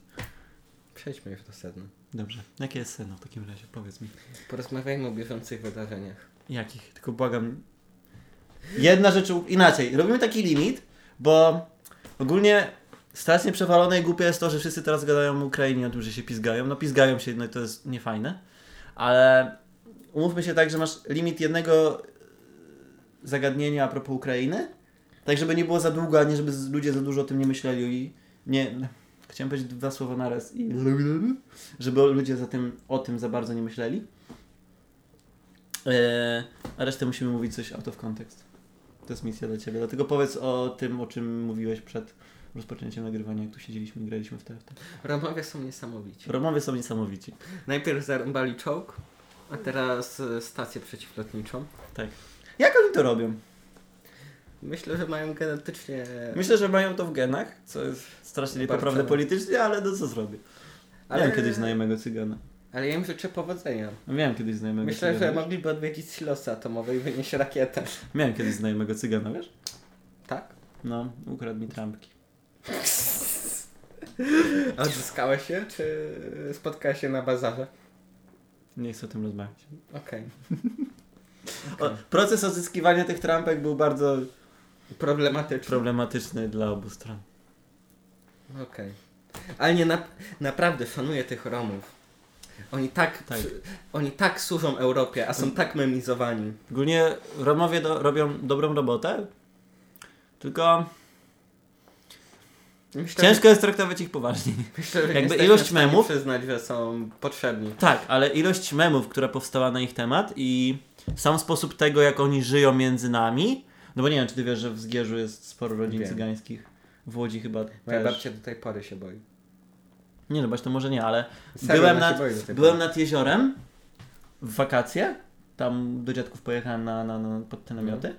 Przejdźmy już do sedna.
Dobrze. Jakie jest sedno w takim razie? Powiedz mi.
Porozmawiajmy o bieżących wydarzeniach.
Jakich? Tylko błagam. Jedna rzecz u- inaczej. Robimy taki limit, bo ogólnie strasznie przewalone i głupie jest to, że wszyscy teraz gadają o Ukrainie o tym, że się pizgają. No pizgają się, no i to jest niefajne. Ale umówmy się tak, że masz limit jednego zagadnienia a propos Ukrainy. Tak, żeby nie było za długo, a nie żeby z- ludzie za dużo o tym nie myśleli i nie... Chciałem powiedzieć dwa słowa naraz i... Żeby ludzie za tym, o tym za bardzo nie myśleli. Eee, a resztę musimy mówić coś out of context. To jest misja dla ciebie. Dlatego powiedz o tym, o czym mówiłeś przed rozpoczęciem nagrywania, jak tu siedzieliśmy i graliśmy w TFT.
Romowie są niesamowici.
Romowie są niesamowici.
Najpierw zarąbali czołg, a teraz e, stację przeciwlotniczą.
Tak. Jak oni to robią?
Myślę, że mają genetycznie...
Myślę, że mają to w genach, co jest strasznie niepoprawne
Bardzo.
politycznie, ale no co zrobię. Miałem kiedyś znajomego cygana.
Ale ja im życzę powodzenia.
Miałem kiedyś znajomego
Myślę, że
cygana.
mogliby odwiedzić silosy atomowe i wynieść rakietę.
Miałem kiedyś znajomego cygana, wiesz?
Tak?
No, ukradł mi trampki.
A Odzyskała się, czy spotkała się na bazarze?
Nie chcę o tym rozmawiać.
Okej.
O, proces odzyskiwania tych trampek był bardzo
Problematyczne.
problematyczny dla obu stron.
Okej. Ale nie, na, naprawdę szanuję tych Romów. Oni tak,
Tak.
przy- oni tak służą Europie, a są tak memizowani.
Ogólnie Romowie do, robią dobrą robotę, tylko
Myślę,
ciężko jest traktować ich poważnie.
że, myślę, że nie
jakby
jesteśmy
ilość
w stanie
memów-
przyznać, że są potrzebni.
Tak, ale ilość memów, która powstała na ich temat i sam sposób tego, jak oni żyją między nami. No bo nie wiem, czy ty wiesz, że w Zgierzu jest sporo rodzin
Wiem.
cygańskich. W Łodzi chyba
Moja
też.
babcia do tej pory się boi.
Nie no, to może nie, ale
Serio,
byłem,
ona
nad,
się boi do tej
byłem
pory.
nad jeziorem w wakacje. Tam do dziadków pojechałem na, na, na, pod te namioty.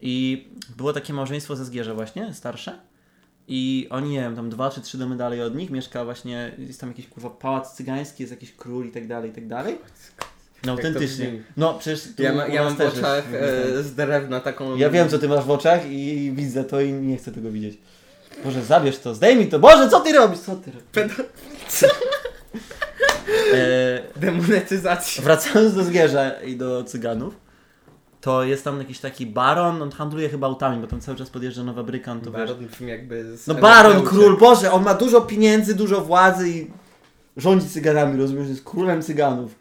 I było takie małżeństwo ze Zgierza właśnie, starsze. I oni, nie wiem, tam dwa czy trzy domy dalej od nich mieszka właśnie, jest tam jakiś kurwa pałac cygański, jest jakiś król i tak dalej, i tak dalej. No
Jak to
autentycznie.
brzmi?
No przecież tu
Ja,
u
ma,
nas
ja mam w
też
oczach
jest,
e, z drewna taką...
Ja wiem, co ty masz w oczach i, i widzę to i nie chcę tego widzieć. Boże, zabierz to, zdejmij to. Boże, co ty robisz? Co ty robisz?
Pedo-
E,
Demonetyzacja.
Wracając do Zgierza i do Cyganów, to jest tam jakiś taki baron, on handluje chyba autami, bo tam cały czas podjeżdża nowa bryka, on to wiesz.
Baron brzmi jakby z
No baron,
Europy.
król, Boże, on ma dużo pieniędzy, dużo władzy i rządzi Cyganami, rozumiesz, jest królem Cyganów.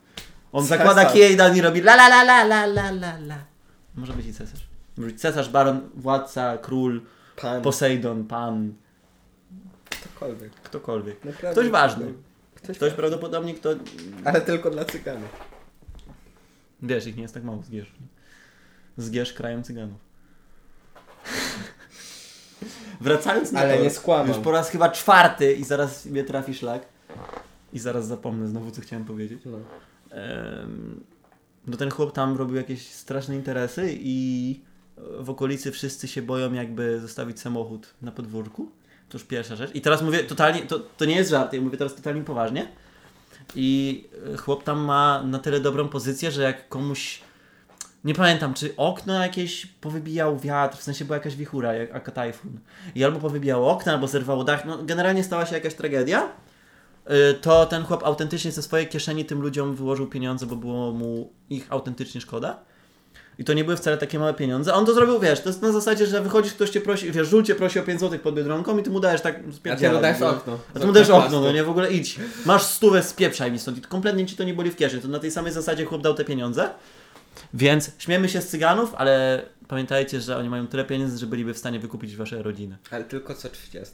On
Cesarz.
zakłada kiejdan i robi la la la la la la la la. Może być i cesarz. Może być cesarz, baron, władca, król,
Pan,
Posejdon, pan,
ktokolwiek.
ktokolwiek.
Naprawdę.
Ktoś ważny.
Ktoś,
Ktoś prawdopodobnie, kto
Ale tylko dla cyganów.
Wiesz, ich nie jest tak mało, zgierz. Zgierz krajem cyganów. Wracając na
Ale
to,
nie skłamam.
już po raz chyba czwarty i zaraz mnie trafi szlak. I zaraz zapomnę znowu, co chciałem powiedzieć.
No.
Em, No ten chłop tam robił jakieś straszne interesy i w okolicy wszyscy się boją jakby zostawić samochód na podwórku. To już pierwsza rzecz. I teraz mówię totalnie, to, to nie jest żart, ja mówię teraz totalnie poważnie. I e, chłop tam ma na tyle dobrą pozycję, że jak komuś, nie pamiętam, czy okno jakieś powybijał wiatr, w sensie była jakaś wichura, jak- jaka tajfun. I albo powybijało okna, albo zerwało dach, no generalnie stała się jakaś tragedia. Y, to ten chłop autentycznie ze swojej kieszeni tym ludziom wyłożył pieniądze, bo było mu ich autentycznie szkoda. I to nie były wcale takie małe pieniądze. A On to zrobił, wiesz, to jest na zasadzie, że wychodzisz, ktoś cię prosi, wiesz, żul cię prosi o 5 zł pod Biedronką i ty mu dajesz tak
A ty mu dajesz
no.
okno.
A ty mu dajesz okno, no nie, w ogóle idź. Masz stówę, spieprzaj mi stąd. I kompletnie ci to nie boli w kieszeni. To na tej samej zasadzie chłop dał te pieniądze. Więc śmiemy się z cyganów, ale pamiętajcie, że oni mają tyle pieniędzy, że byliby w stanie wykupić wasze rodziny.
Ale tylko co 30.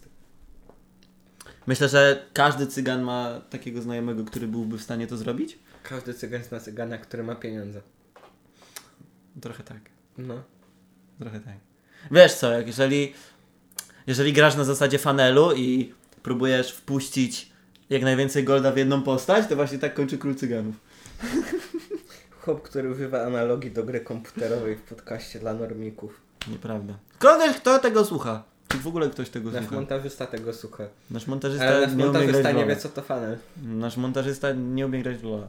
Myślę, że każdy cygan ma takiego znajomego, który byłby w stanie to zrobić.
Każdy cygan zna cygana, który ma pieniądze.
Trochę tak,
No.
trochę tak. Wiesz co, jak jeżeli, jeżeli grasz na zasadzie fanelu i próbujesz wpuścić jak najwięcej golda w jedną postać, to właśnie tak kończy król cyganów.
Chłop, który używa analogii do gry komputerowej w podcaście dla normików.
Nieprawda. Kogoś, kto tego słucha? Czy w ogóle ktoś tego
Nasz
słucha?
montażysta tego słucha.
Nasz montażysta
Ale nasz
nie umie grać
montażysta
w
nie
LoL'a.
wie co to fanel.
Nasz montażysta nie umie grać w LoL'a.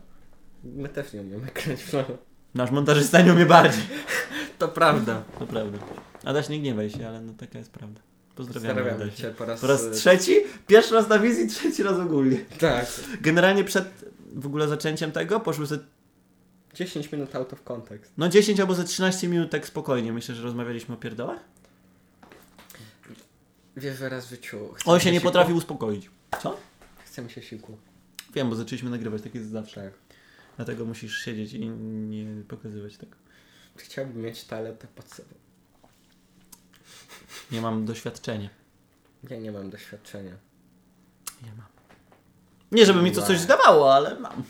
My też nie umiemy grać w LoL.
Nasz montażysta nie umie bardziej.
To prawda.
To prawda. Adaś, nie gniewaj się, ale no taka jest prawda. Pozdrawiamy,
Pozdrawiam
Adasia.
cię po raz... e,
Po raz trzeci, pierwszy raz na wizji, trzeci raz ogólnie.
Tak.
Generalnie przed w ogóle zaczęciem tego poszły ze
10 minut out of context.
no 10 albo ze 13 minut tak spokojnie. Myślę, że rozmawialiśmy o pierdołach.
Wiesz, że raz w życiu... chce
On
mi
się nie
siku-
potrafił uspokoić. Co?
Chce mi się siku.
Wiem, bo zaczęliśmy nagrywać, tak jest zawsze.
Tak.
Dlatego musisz siedzieć i nie pokazywać tego.
Chciałbym mieć toaletę pod sobą.
Nie mam doświadczenia.
Ja nie mam doświadczenia.
Nie mam. Nie, żeby mi to coś zdawało, ale mam.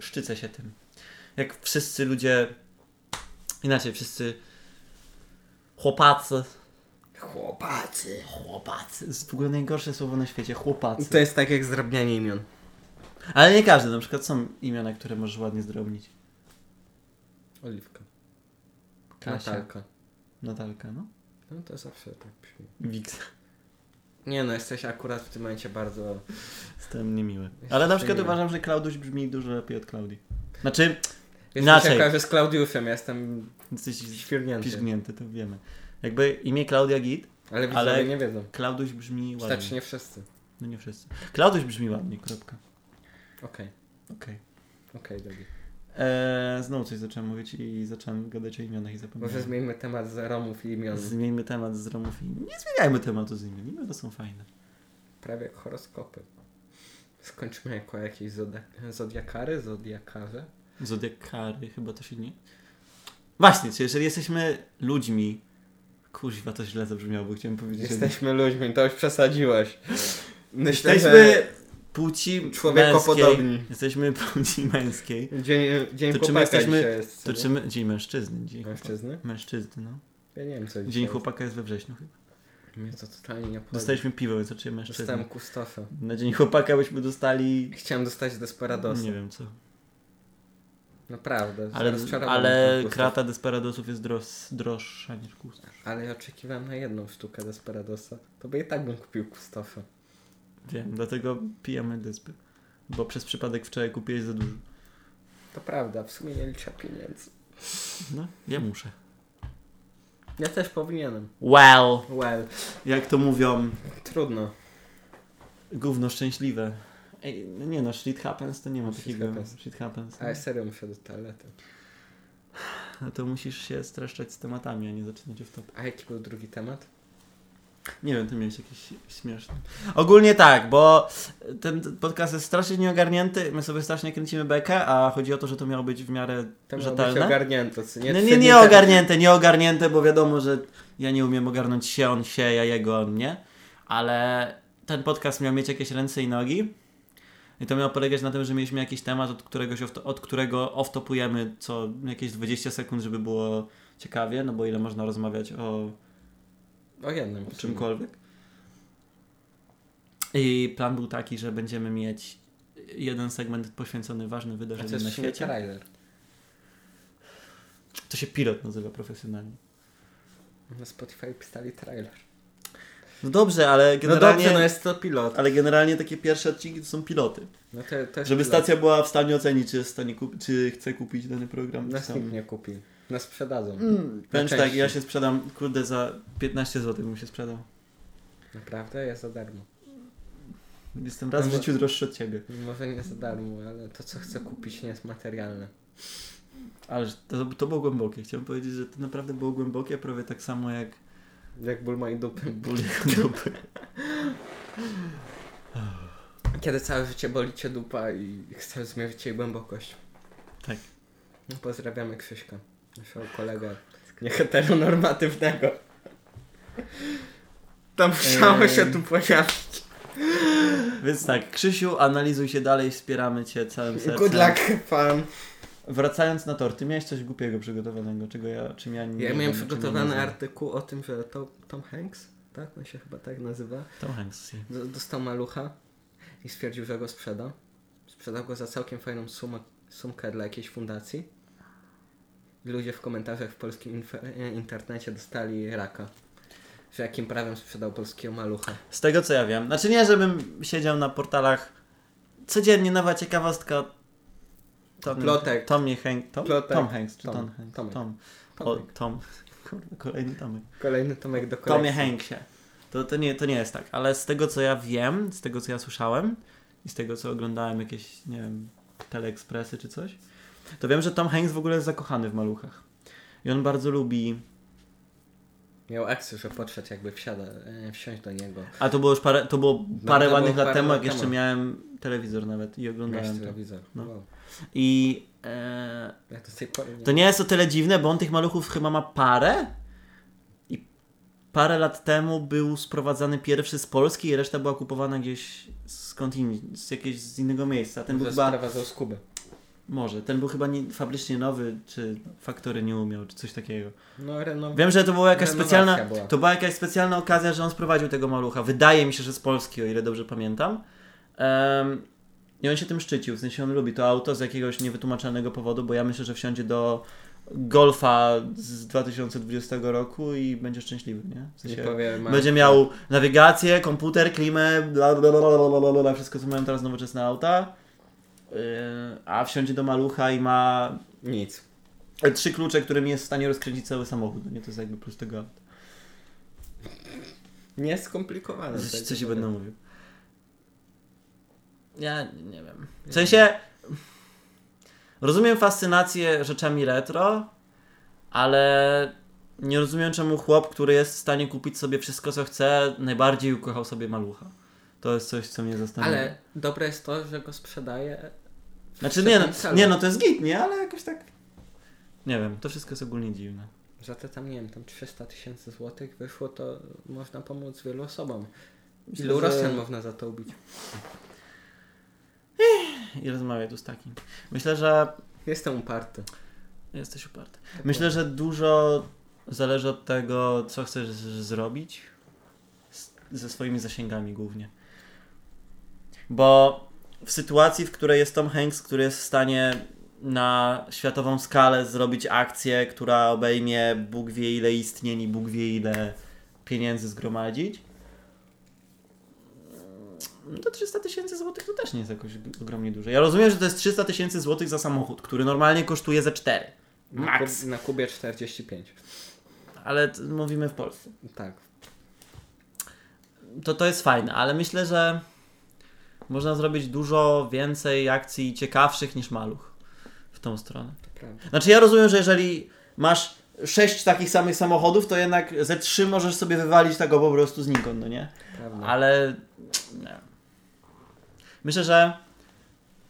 Szczycę się tym. Jak wszyscy ludzie. Inaczej, wszyscy chłopacy
Chłopacy.
Chłopacy. To jest w ogóle najgorsze słowo na świecie. Chłopacy.
To jest tak jak zdrabnianie imion.
Ale nie każdy. Na przykład są imiona, które możesz ładnie zdrobnić.
Oliwka.
Kasia.
Natalka.
Natalka, no.
No to zawsze tak brzmi.
Wiksa.
Nie no, jesteś akurat w tym momencie bardzo...
Jestem niemiły.
Jesteś
Ale na przykład
niemiły.
uważam, że Klauduś brzmi dużo lepiej od Klaudii. Znaczy,
Inaczej.
Inaczej.
Ja kojarzę z Klaudiuszem, ja jestem
jesteś
świrnięty.
piszgnięty, to wiemy. Jakby imię Klaudia Git,
Ale widzowie
Ale-
nie wiedzą.
Klauduś brzmi ładnie.
Znaczy nie wszyscy.
No nie wszyscy. Klauduś brzmi ładnie, kropka.
Okej,
Okej.
okej, drogi.
Eee, znowu coś zacząłem mówić i zacząłem gadać o imionach i zapomniałem.
Może zmieńmy temat z Romów i imion.
Zmieńmy temat z Romów i nie zmieniajmy tematu z imion. Imiona są fajne.
Prawie jak horoskopy. Skończymy jako jakieś zodi- zodiakary, zodiakarze.
Zodiakary chyba to się nie... Właśnie, czy jeżeli jesteśmy ludźmi... Kuźwa, to źle zabrzmiało, bo chciałem powiedzieć... że-
Jesteśmy ludźmi, to już przesadziłeś. Myślę,
Jesteśmy płci
człowiekopodobni.
męskiej. Jesteśmy płci męskiej.
że dzień, dzień
To czy my
chłopaka
jesteśmy-
dzisiaj jest.
To
co
czy
nie?
my, dzień mężczyzny. Dzień
Mężczyzny?
Mężczyzny, no.
Ja nie wiem co dzisiaj
Dzień
jest.
chłopaka jest we wrześniu chyba.
Mnie to totalnie nie podoba.
Dostaliśmy piwo, więc oczywiście mężczyzny.
Dostałem kustosa.
Na dzień chłopaka byśmy dostali...
Chciałem dostać Desperadosa.
Nie wiem co.
Naprawdę.
Ale,
rozczarował mnie
ale
ten kustof.
krata Desperadosów jest dros, droższa niż kustosz.
Ale ja oczekiwałem na jedną sztukę Desperadosa. To by i tak bym kupił kustosa.
Wiem, dlatego pijemy despy. Bo przez przypadek wczoraj kupiłeś za dużo.
To prawda, w sumie nie liczę pieniędzy.
No, ja muszę.
Ja też powinienem.
Well.
Well,
Jak to mówią,
trudno.
gówno szczęśliwe. Ej, no nie no, shit happens to nie ma
Shit
takiego.
happens.
Shit happens.
Ale serio muszę do toalety.
No to musisz się streszczać z tematami, a nie zaczynać w top.
A jaki był drugi temat?
Nie wiem, ty miałeś jakiś śmieszny. Ogólnie tak, bo ten podcast jest strasznie nieogarnięty, my sobie strasznie kręcimy bekę, a chodzi o to, że to miało być w miarę
Tam miał być
rzetelne.
ogarnięto, co nie?
No Nie,
Trzy
nie,
dni
nie
temu-
ogarnięte, nie ogarnięte, bo wiadomo, że ja nie umiem ogarnąć się, on się, ja jego, on mnie, ale ten podcast miał mieć jakieś ręce i nogi i to miało polegać na tym, że mieliśmy jakiś temat, od, któregoś off, od którego off-topujemy co jakieś 20 sekund, żeby było ciekawie, no bo ile można rozmawiać o
O jednym.
o czymkolwiek. I plan był taki, że będziemy mieć jeden segment poświęcony ważnym
A
wydarzeniom
to
na
jest świecie?
świecie.
trailer.
To się pilot nazywa profesjonalnie.
Na Spotify pisali trailer.
No dobrze, ale
No
generalnie,
dobrze, no jest to pilot.
ale generalnie takie pierwsze odcinki to są piloty.
No to, to jest
Żeby
pilot.
stacja była w stanie ocenić, czy, jest w stanie kup- czy chce kupić dany program.
Nas
czy
nikt
sam.
nie kupi. Nas sprzedadzą.
Wręcz
Na
tak,
części.
ja się sprzedam, kurde, za 15 zł bym się sprzedał.
Naprawdę? Ja za darmo.
Jestem raz w
No bo-
życiu droższy od ciebie.
Może nie za darmo, ale to co chcę kupić nie jest materialne.
Ale to, to było głębokie. Chciałem powiedzieć, że to naprawdę było głębokie, prawie tak samo jak
Jak ból mojej dupy.
ból jego dupy.
Kiedy całe życie boli cię dupa i chcesz zmierzyć jej głębokość.
Tak.
No, Pozdrawiamy Krzyśka, naszego kolegę nieheteronormatywnego. To musiało
Eee.
się tu pojawić.
Więc tak, Krzysiu, analizuj się dalej, wspieramy cię całym sercem.
Good luck, pan.
Wracając na tor, ty miałeś coś głupiego przygotowanego, czego ja, czym ja nie
Ja
wiem,
miałem
czym
przygotowany
nie
artykuł o tym, że to, Tom Hanks, tak? On się chyba tak nazywa.
znam. Tom Hanks.
D- Dostał malucha i stwierdził, że go sprzeda. Sprzedał go za całkiem fajną sumę, sumkę dla jakiejś fundacji. I Ludzie w komentarzach w polskim infe- internecie dostali raka. Że jakim prawem sprzedał polskiego malucha.
Z tego co ja wiem, znaczy nie, żebym siedział na portalach codziennie nowa ciekawostka Tom,
Plotek.
Tomie Hank, Tom?
Plotek.
Tom Hanks, czy
Tom.
Tom, Hanks?
Tomek.
Tom. O,
Tomek.
Tom. Kurde, kolejny Tomek.
Kolejny Tomek do kolekcji.
Tomie Hanksie. To, to, nie, to nie jest tak, ale z tego co ja wiem, z tego co ja słyszałem i z tego co oglądałem jakieś, nie wiem, teleekspresy czy coś, to wiem, że Tom Hanks w ogóle jest zakochany w maluchach. I on bardzo lubi.
Miał akcję, że podszedł jakby wsiada, e, wsiąść do niego.
A to było już parę, to było parę
No, to
ładnych
było
lat
parę
temu,
lat
jak jeszcze
temu.
miałem telewizor nawet i
Miałeś
oglądałem to.
telewizor.
No.
Wow.
I e,
Ja do tej pory nie...
to nie jest o tyle dziwne, bo on tych maluchów chyba ma parę. I parę lat temu był sprowadzany pierwszy z Polski i reszta była kupowana gdzieś skąd indziej, z jakiegoś z innego miejsca. Ten był
Że
chyba
sprowadzał z Kuby.
Może. Ten był chyba nie, fabrycznie nowy, czy faktory nie umiał, czy coś takiego.
No, reno...
Wiem, że to była jakaś
Renowacja
specjalna.
była.
To była jakaś specjalna okazja, że on sprowadził tego malucha. Wydaje mi się, że z Polski, o ile dobrze pamiętam. Em, I on się tym szczycił, w sensie on lubi to auto z jakiegoś niewytłumaczalnego powodu, bo ja myślę, że wsiądzie do Golfa z 2020 roku i będzie szczęśliwy, nie? W
nie
sensie
powiem, ma-
będzie miał nawigację, komputer, klimę, bla bla bla bla bla, bla bla, wszystko co mają teraz nowoczesne auta. Yy, A wsiądzie do malucha i ma
Nic.
E, trzy klucze, którymi jest w stanie rozkręcić cały samochód. No nie to jest jakby plus tego auta.
Nie skomplikowane.
Co,
tak
co się
powiem.
będę mówił? Ja nie wiem. W sensie rozumiem fascynację rzeczami retro, ale nie rozumiem czemu chłop, który jest w stanie kupić sobie wszystko co chce, najbardziej ukochał sobie malucha. To jest coś, co mnie zastanawia.
Ale dobre jest to, że go sprzedaje. w
Znaczy nie,
świetnym
no,
celu.
nie no, to jest git, nie? Ale jakoś tak... Nie wiem, to wszystko jest ogólnie dziwne.
Za te tam, nie wiem, tam 300 tysięcy złotych wyszło, to można pomóc wielu osobom.
Myślę,
Ilu
że-
Rosjan można za to ubić?
I rozmawiaj tu z takim. Myślę, że
Jestem uparty.
Jesteś uparty. Myślę, że dużo zależy od tego, co chcesz z- zrobić z, ze swoimi zasięgami głównie. Bo w sytuacji, w której jest Tom Hanks, który jest w stanie na światową skalę zrobić akcję, która obejmie Bóg wie ile istnień i Bóg wie ile pieniędzy zgromadzić, no to 300 tysięcy złotych to też nie jest jakoś ogromnie dużo. Ja rozumiem, że to jest 300 tysięcy złotych za samochód, który normalnie kosztuje ze 4.
Na,
Max.
Kub- na Kubie 45.
No, Ale t- mówimy w Polsce.
Tak.
To, to jest fajne, ale myślę, że można zrobić dużo więcej akcji ciekawszych niż maluch w tą stronę.
To prawda.
Znaczy, ja rozumiem, że jeżeli masz sześć takich samych samochodów, to jednak ze trzy możesz sobie wywalić tego po prostu znikąd, no nie?
prawda.
Ale nie. myślę, że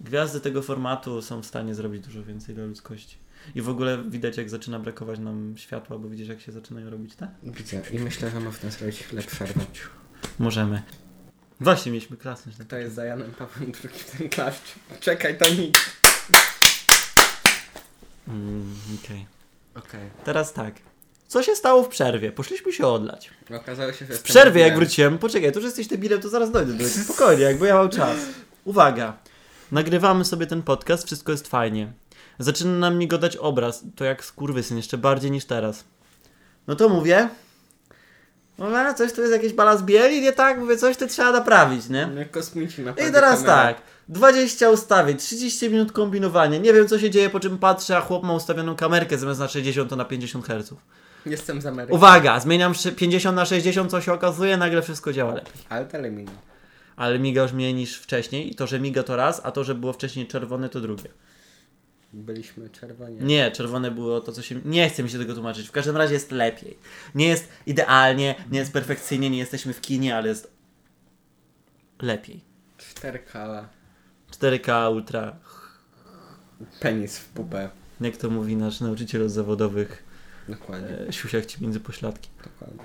gwiazdy tego formatu są w stanie zrobić dużo więcej dla ludzkości. I w ogóle widać, jak zaczyna brakować nam światła, bo widzisz, jak się zaczynają robić te?
Widzę. I myślę, że można zrobić lepsze rwęciu.
Możemy. Właśnie mieliśmy klasnąć.
Kto jest za Janem Pawłem II w ten klaszcz? Czekaj, to nic.
Mm, Okej.
Okej.
Teraz tak. Co się stało w przerwie? Poszliśmy się odlać.
Okazało się, że...
W przerwie jak wróciłem, poczekaj, to że jesteś debilem, to zaraz dojdę do tego. Spokojnie, jakby ja miał czas. Uwaga. Nagrywamy sobie ten podcast, wszystko jest fajnie. Zaczyna nam migotać obraz, to jak skurwysyn, jeszcze bardziej niż teraz. No to mówię. No coś tu jest jakiś balans bieli, nie tak? Mówię, coś tu trzeba naprawić, nie?
No kosmici na
I teraz tak. 20 ustawień, 30 minut kombinowania. Nie wiem, co się dzieje, po czym patrzę, a chłop ma ustawioną kamerkę zamiast na 60 to na 50 Hz.
Jestem z Ameryki.
Uwaga, zmieniam szy- 50 na 60, co się okazuje, nagle wszystko działa lepiej.
Ale dalej minął.
Ale miga już mniej niż wcześniej i to, że miga to raz, a to, że było wcześniej czerwone to drugie.
Byliśmy czerwoni.
Nie, czerwone było to, co się... Nie chcę mi się tego tłumaczyć. W każdym razie jest lepiej. Nie jest idealnie, nie jest perfekcyjnie, nie jesteśmy w kinie, ale jest lepiej.
4K.
4K Ultra
Penis w pupę.
Jak to mówi nasz nauczyciel od zawodowych,
Dokładnie.
e, siusiach ci między pośladki.
Dokładnie.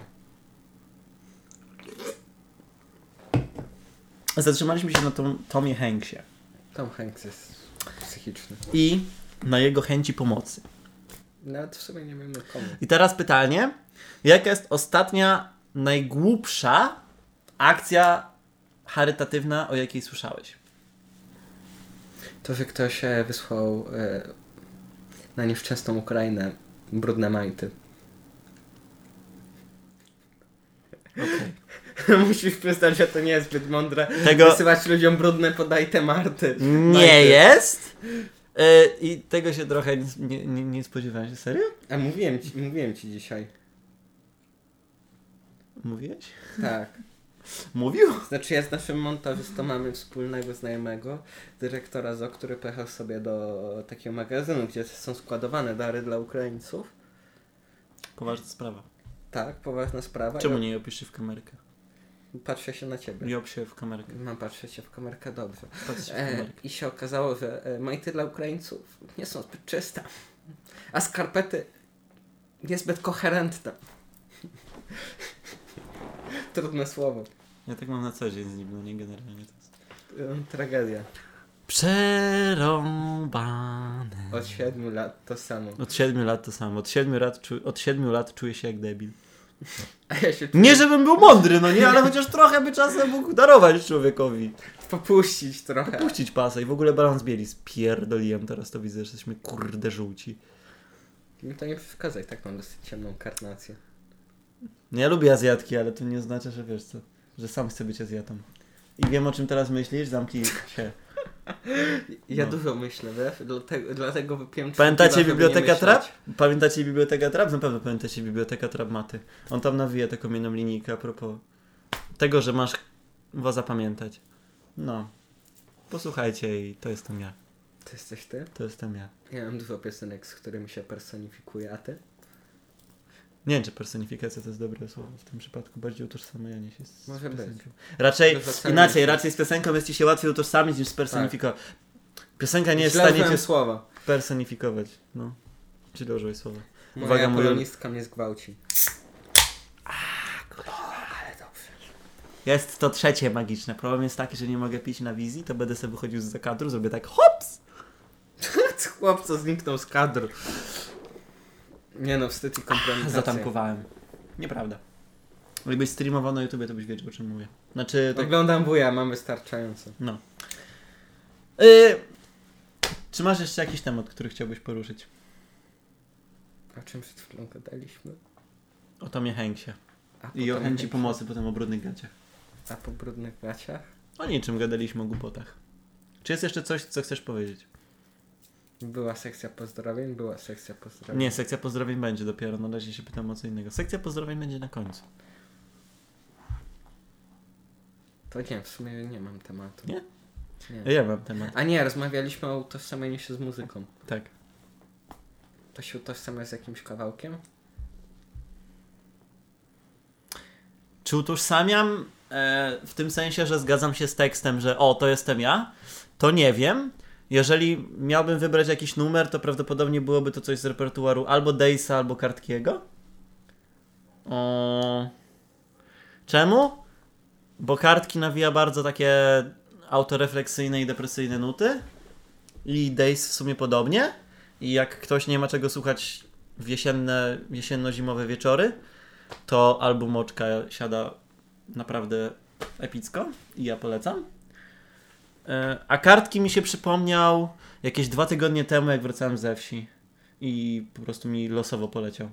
Zatrzymaliśmy się na tom, Tomie Hanksie
Tom Hanks jest psychiczny.
i na jego chęci pomocy.
Nawet w sumie nie wiemy komu.
I teraz pytanie, jaka jest ostatnia, najgłupsza akcja charytatywna, o jakiej słyszałeś?
To, że ktoś e, wysłał e, na nieszczęsną Ukrainę brudne majty. Musisz przyznać, że to nie jest zbyt mądre.
Tego-
Wysyłać ludziom brudne podaj te marty.
Nie
Majty.
jest? E, I tego się trochę nie, nie- nie, nie spodziewałem się. Serio?
A mówiłem ci, mówiłem ci dzisiaj.
Mówiłeś?
Tak.
Mówił?
Znaczy ja z naszym montażystą mamy wspólnego znajomego, dyrektora ZO, który pojechał sobie do takiego magazynu, gdzie są składowane dary dla Ukraińców.
Poważna sprawa.
Tak, poważna sprawa.
Czemu
I
nie opisz w kamerkę?
Patrzę się na ciebie.
Nie op się w kamerkę.
Mam patrzeć się w kamerkę dobrze.
Patrz się w
E,
kamerkę.
I się okazało, że e, majty dla Ukraińców nie są zbyt czyste, a skarpety niezbyt koherentne. Trudne słowo.
Ja tak mam na co dzień z nim, no nie generalnie to jest.
E, Tragedia.
Przerąbane.
Od 7 lat to samo.
Od 7 lat to samo. Od 7 lat, czu- od 7 lat czuję się jak debil.
A ja się
Nie, żebym był mądry, no nie, ale chociaż trochę by czasem mógł darować człowiekowi.
popuścić trochę.
Puścić pasa i w ogóle balans bieli. Spierdoliłem teraz to widzę, że jesteśmy kurde żółci.
Mi to nie przeszkadza i tak mam dosyć ciemną karnację.
No ja lubię Azjatki, ale to nie oznacza, że wiesz co, że sam chcę być Azjatą. I wiem o czym teraz myślisz, zamknij się.
Ja
No.
dużo myślę, wiesz? Dlatego, dlatego wypiłem trzy piwa,
Pamiętacie
żeby nie
Biblioteka
myśleć.
Trap? Pamiętacie Biblioteka Trap? Na pewno pamiętacie Biblioteka Trap Maty. On tam nawija taką jedną linijkę a propos tego, że masz chyba zapamiętać. No. Posłuchajcie i to jestem ja.
To jesteś ty?
To jestem ja.
Ja mam dużo piosenek, z którymi się personifikuje, a ty?
Nie wiem, czy personifikacja to jest dobre słowo w tym przypadku. Bardziej utożsamianie się z
Może być.
piosenką. Raczej
Utożsamianie
inaczej,
się.
raczej z piosenką jest ci się łatwiej utożsamić niż spersonifikować. Piosenka nie jest w
Źle
stanie
użyłem
cię
słowa.
spersonifikować. No. Czy dołożyłeś słowa?
Moja
Uwaga,
Uwaga,
mój-
polonistka mnie zgwałci. ale dobrze.
Jest to trzecie magiczne. Problem jest taki, że nie mogę pić na wizji, to będę sobie wychodził z zakadru, zrobię tak hops!
Chłopca zniknął z kadru. Nie no, wstyd i kompromitacja.
Zatankowałem. Nieprawda. Gdybyś streamował na YouTube, to byś wiedział, o czym mówię. Znaczy, tak...
Oglądam wuja, mam wystarczająco.
No. Y... Czy masz jeszcze jakiś temat, który chciałbyś poruszyć?
O czym przed chwilą gadaliśmy?
O Tomie Hanksie.
A
I o
potem-
chęci pomocy potem o brudnych gaciach.
A po brudnych gaciach?
O niczym gadaliśmy, o głupotach. Czy jest jeszcze coś, co chcesz powiedzieć?
Była sekcja pozdrowień, była sekcja pozdrowień.
Nie, sekcja pozdrowień będzie dopiero, na razie się pytam o co innego. Sekcja pozdrowień będzie na końcu.
To nie, w sumie nie mam tematu.
Nie? Y-
Nie.
Ja mam temat.
A nie, rozmawialiśmy o utożsamieniu się z muzyką.
Tak.
To się utożsamia z jakimś kawałkiem?
Czy utożsamiam e, w tym sensie, że zgadzam się z tekstem, że o, to jestem ja? To nie wiem. Jeżeli miałbym wybrać jakiś numer, to prawdopodobnie byłoby to coś z repertuaru albo Dejsa, albo Kartkiego. O... Czemu? Bo Kartki nawija bardzo takie autorefleksyjne i depresyjne nuty. I Days w sumie podobnie. I jak ktoś nie ma czego słuchać w jesienne, jesienno-zimowe wieczory, to album Oczka siada naprawdę epicko i ja polecam. E, A kartki mi się przypomniał jakieś dwa tygodnie temu, jak wracałem ze wsi i po prostu mi losowo poleciał.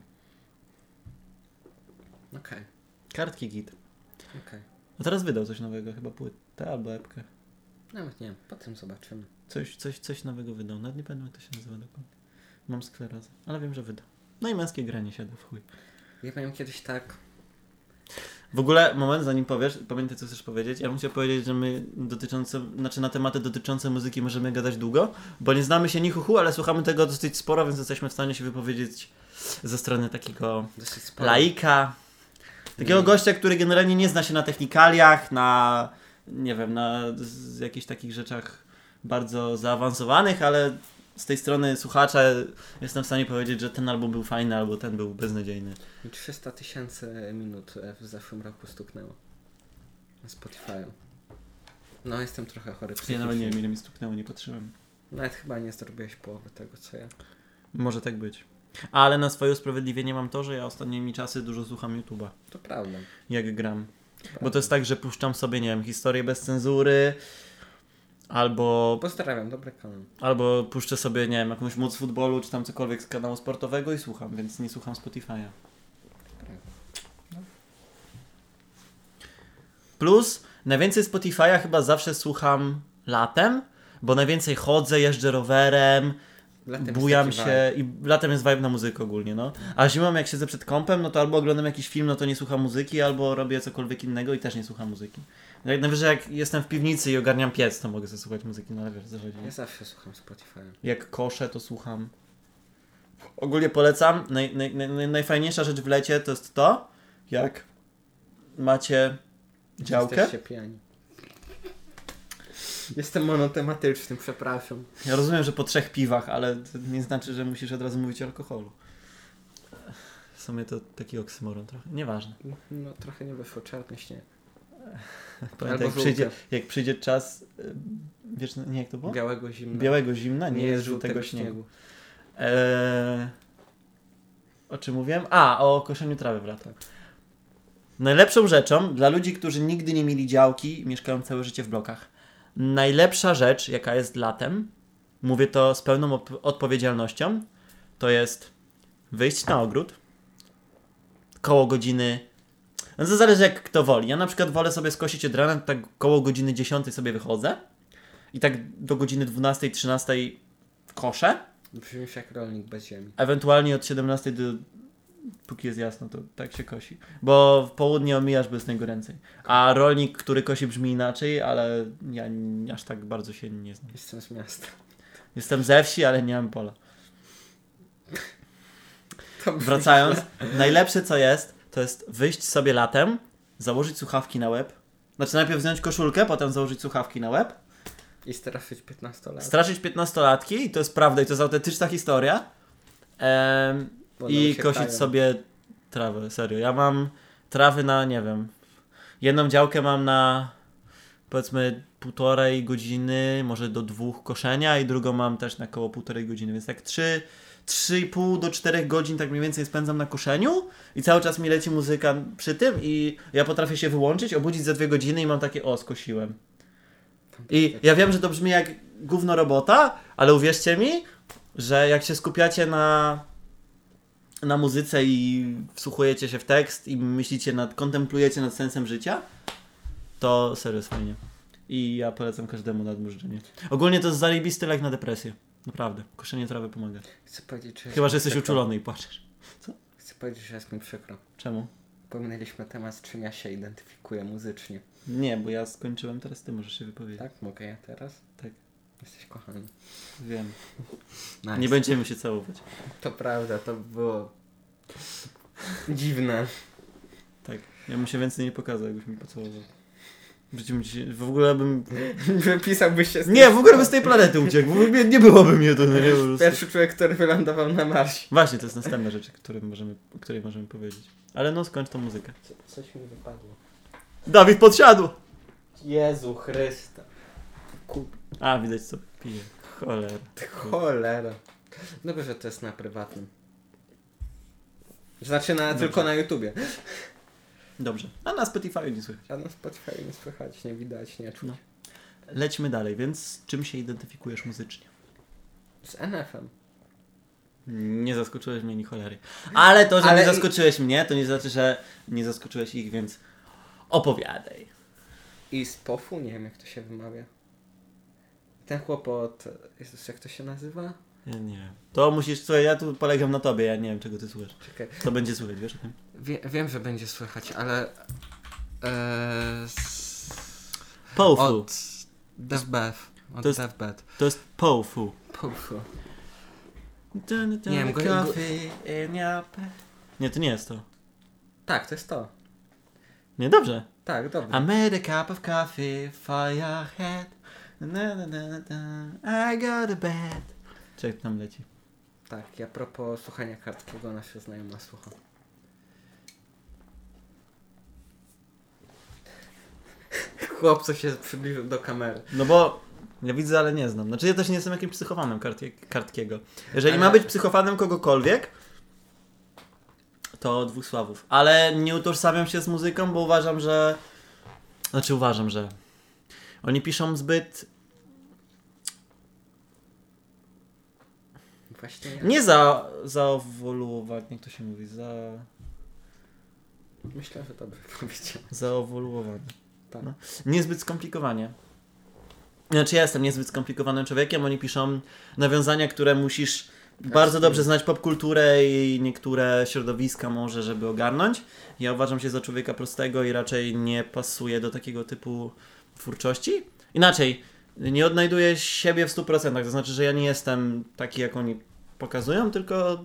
Okej,
Kartki git.
okej.
A teraz wydał coś nowego, chyba płytę albo epkę.
Nawet nie wiem, potem zobaczymy.
Coś, coś, coś nowego wydał, nawet nie pamiętam jak to się nazywa dokładnie. Mam sklerozę, ale wiem, że wydał. No i męskie granie siada w chuj.
Ja miałem kiedyś tak,
W ogóle, moment, zanim powiesz, pamiętaj co chcesz powiedzieć. Ja bym chciał powiedzieć, że my dotyczące, znaczy na tematy dotyczące muzyki możemy gadać długo, bo nie znamy się ni hu, hu, ale słuchamy tego dosyć sporo, więc jesteśmy w stanie się wypowiedzieć ze strony takiego
dosyć sporo.
laika, takiego
Mm.
gościa, który generalnie nie zna się na technikaliach, na, nie wiem, na z- jakichś takich rzeczach bardzo zaawansowanych, ale z tej strony słuchacza jestem w stanie powiedzieć, że ten album był fajny, albo ten był beznadziejny.
Mi 300 tysięcy minut e, w zeszłym roku stuknęło. Na Spotify'u. No, jestem trochę chory
Ja nawet nie
psychicznie.
wiem, ile mi stuknęło, nie patrzyłem.
Nawet chyba nie zrobiłeś połowy tego, co ja.
Może tak być. Ale na swoje usprawiedliwienie mam to, że ja ostatnimi czasy dużo słucham YouTube'a,
To prawda.
jak gram. Bo to jest tak, że puszczam sobie, nie wiem, historię bez cenzury, albo,
Pozdrawiam, dobry kanał.
albo puszczę sobie, nie wiem, jakąś moc futbolu, czy tam cokolwiek z kanału sportowego i słucham, więc nie słucham Spotify'a. Plus, najwięcej Spotify'a chyba zawsze słucham latem, bo najwięcej chodzę, jeżdżę rowerem,
Latem jest
bujam
taki
się i latem jest vibe na muzykę ogólnie, no. A zimą jak siedzę przed kąpem, no to albo oglądam jakiś film, no to nie słucham muzyki, albo robię cokolwiek innego i też nie słucham muzyki. Jak najwyżej jak jestem w piwnicy i ogarniam piec, to mogę sobie słuchać muzyki, no ale wiesz, zachodzi.
vibe. Ja zawsze słucham Spotify'a.
Jak koszę, to słucham. Ogólnie polecam, naj, naj, naj, naj- najfajniejsza rzecz w lecie to jest to, jak macie działkę.
Jesteście pijani. Jestem monotematycznym, przepraszam.
Ja rozumiem, że po trzech piwach, ale to nie znaczy, że musisz od razu mówić o alkoholu. W sumie to taki oksymoron trochę. Nieważne.
No trochę nie wyszło, czarny śnieg.
Pamiętaj, jak
żółte.
przyjdzie, jak przyjdzie czas y, wieczne, nie jak to było?
Białego zimna.
Białego zimna, nie, jest żółtego śniegu. Eee, o czym mówiłem? A, o koszeniu trawy w latach. Najlepszą rzeczą dla ludzi, którzy nigdy nie mieli działki i mieszkają całe życie w blokach, najlepsza rzecz, jaka jest latem, mówię to z pełną op- odpowiedzialnością, to jest wyjść na ogród koło godziny. No to zależy jak kto woli. Ja na przykład wolę sobie skosić od rana, tak koło godziny 10 sobie wychodzę i tak do godziny 12-13 koszę.
Brzmisz jak rolnik bez ziemi.
Ewentualnie od 17 do. Póki jest jasno, to tak się kosi. Bo w południe omijasz bez niego ręce. A rolnik, który kosi, brzmi inaczej, ale ja n- aż tak bardzo się nie znam.
Jestem z miasta.
Jestem ze wsi, ale nie mam pola.
To brzmi-
Wracając, najlepsze co jest, to jest wyjść sobie latem, założyć słuchawki na łeb. Znaczy najpierw wziąć koszulkę, potem założyć słuchawki na łeb.
I straszyć 15 lat.
Straszyć 15-latki i to jest prawda i to jest autentyczna historia. Em, I kosić sobie trawę, serio. Ja mam trawy na, nie wiem, jedną działkę mam na powiedzmy półtorej godziny, może do dwóch koszenia i drugą mam też na koło półtorej godziny, więc tak trzy, trzy i pół do czterech godzin tak mniej więcej spędzam na koszeniu i cały czas mi leci muzyka przy tym i ja potrafię się wyłączyć, obudzić za dwie godziny i mam takie, o, skosiłem. I ja wiem, że to brzmi jak gówno robota, ale uwierzcie mi, że jak się skupiacie na, na muzyce i wsłuchujecie się w tekst i myślicie nad, kontemplujecie nad sensem życia, to serio jest fajnie. I ja polecam każdemu nadmurzenie. Ogólnie to jest zajebisty lek na depresję. Naprawdę. Koszenie trawy pomaga.
Chcę powiedzieć, że jest
Chyba,
mi
że jesteś
przykro.
uczulony i płaczesz.
Chcę powiedzieć, że jest mi przykro.
Czemu?
Pominęliśmy temat, z czym ja się identyfikuję muzycznie.
Nie, bo ja skończyłem, teraz ty możesz się wypowiedzieć.
Tak? Mogę ja teraz?
Tak.
Jesteś kochany.
Wiem.
Nice.
Nie będziemy się całować.
To prawda, to było... Dziwne.
Tak. Ja bym się więcej nie pokazał, jakbyś mi pocałował. Brzmi dzisiaj... W ogóle bym...
Wypisałbyś się z
Nie, w ogóle bym z tej planety uciekł. W ogóle nie byłoby mnie to, no nie? Po prostu.
Pierwszy człowiek, który wylądował na Marsie.
Właśnie, to jest następna rzecz, o której możemy, o której możemy powiedzieć. Ale no, skończ tą muzykę.
coś mi wypadło.
Dawid podsiadł!
Jezu Chryste. Kup.
A, widać co pije. Cholera.
Cholera. Dobrze, że to jest na prywatnym. Znaczy na,
Dobrze.
tylko na YouTubie.
Dobrze. A na Spotify nie słychać.
A na Spotify nie słychać, nie widać, nie czuć.
No. Lećmy dalej, więc z czym się identyfikujesz muzycznie?
Z NF-em.
Nie zaskoczyłeś mnie ni cholery. Ale to, że
Ale-
nie zaskoczyłeś mnie, to nie znaczy, że nie zaskoczyłeś ich, więc opowiadaj.
I z POFU, nie wiem jak to się wymawia. Ten chłopot, Jezus, jak to się nazywa?
Ja nie wiem. To musisz, co ja tu polegam na tobie, ja nie wiem czego ty słuchasz.
Czekaj.
To będzie słychać, wiesz o tym?
Wie, wiem, że będzie słychać, ale... Eee, z...
Pofu.
Od DevBev. Od
To jest-
DevBed.
To jest pofu.
POFU.
Nie
wiem, go- go-
Nie, to nie jest to.
Tak, to jest to.
Nie, dobrze.
Tak, dobra.
I made a cup of coffee for your head. Na, na, na, na, na. I go to bed. Czek tam leci.
Tak, ja propos słuchania Karskiego, ona się znajoma słucha. Chłop, co się przybliżył do kamery.
No bo ja widzę, ale nie znam. Znaczy ja też nie jestem jakimś psychofanem kartie, Kartkiego. Jeżeli
Ale-
ma być psychofanem kogokolwiek, to dwóch sławów. Ale nie utożsamiam się z muzyką, bo uważam, że... Znaczy uważam, że... Oni piszą zbyt...
Właśnie ja.
Nie za... zaowoluować, jak to się mówi, za...
Myślę, że dobrze powiedziałem.
zaowoluowane.
Tak.
No. Niezbyt skomplikowanie. Znaczy ja jestem niezbyt skomplikowanym człowiekiem, oni piszą nawiązania, które musisz bardzo dobrze znać popkulturę i niektóre środowiska może, żeby ogarnąć. Ja uważam się za człowieka prostego i raczej nie pasuję do takiego typu twórczości. Inaczej, nie odnajduję siebie w 100%, to znaczy, że ja nie jestem taki, jak oni pokazują, tylko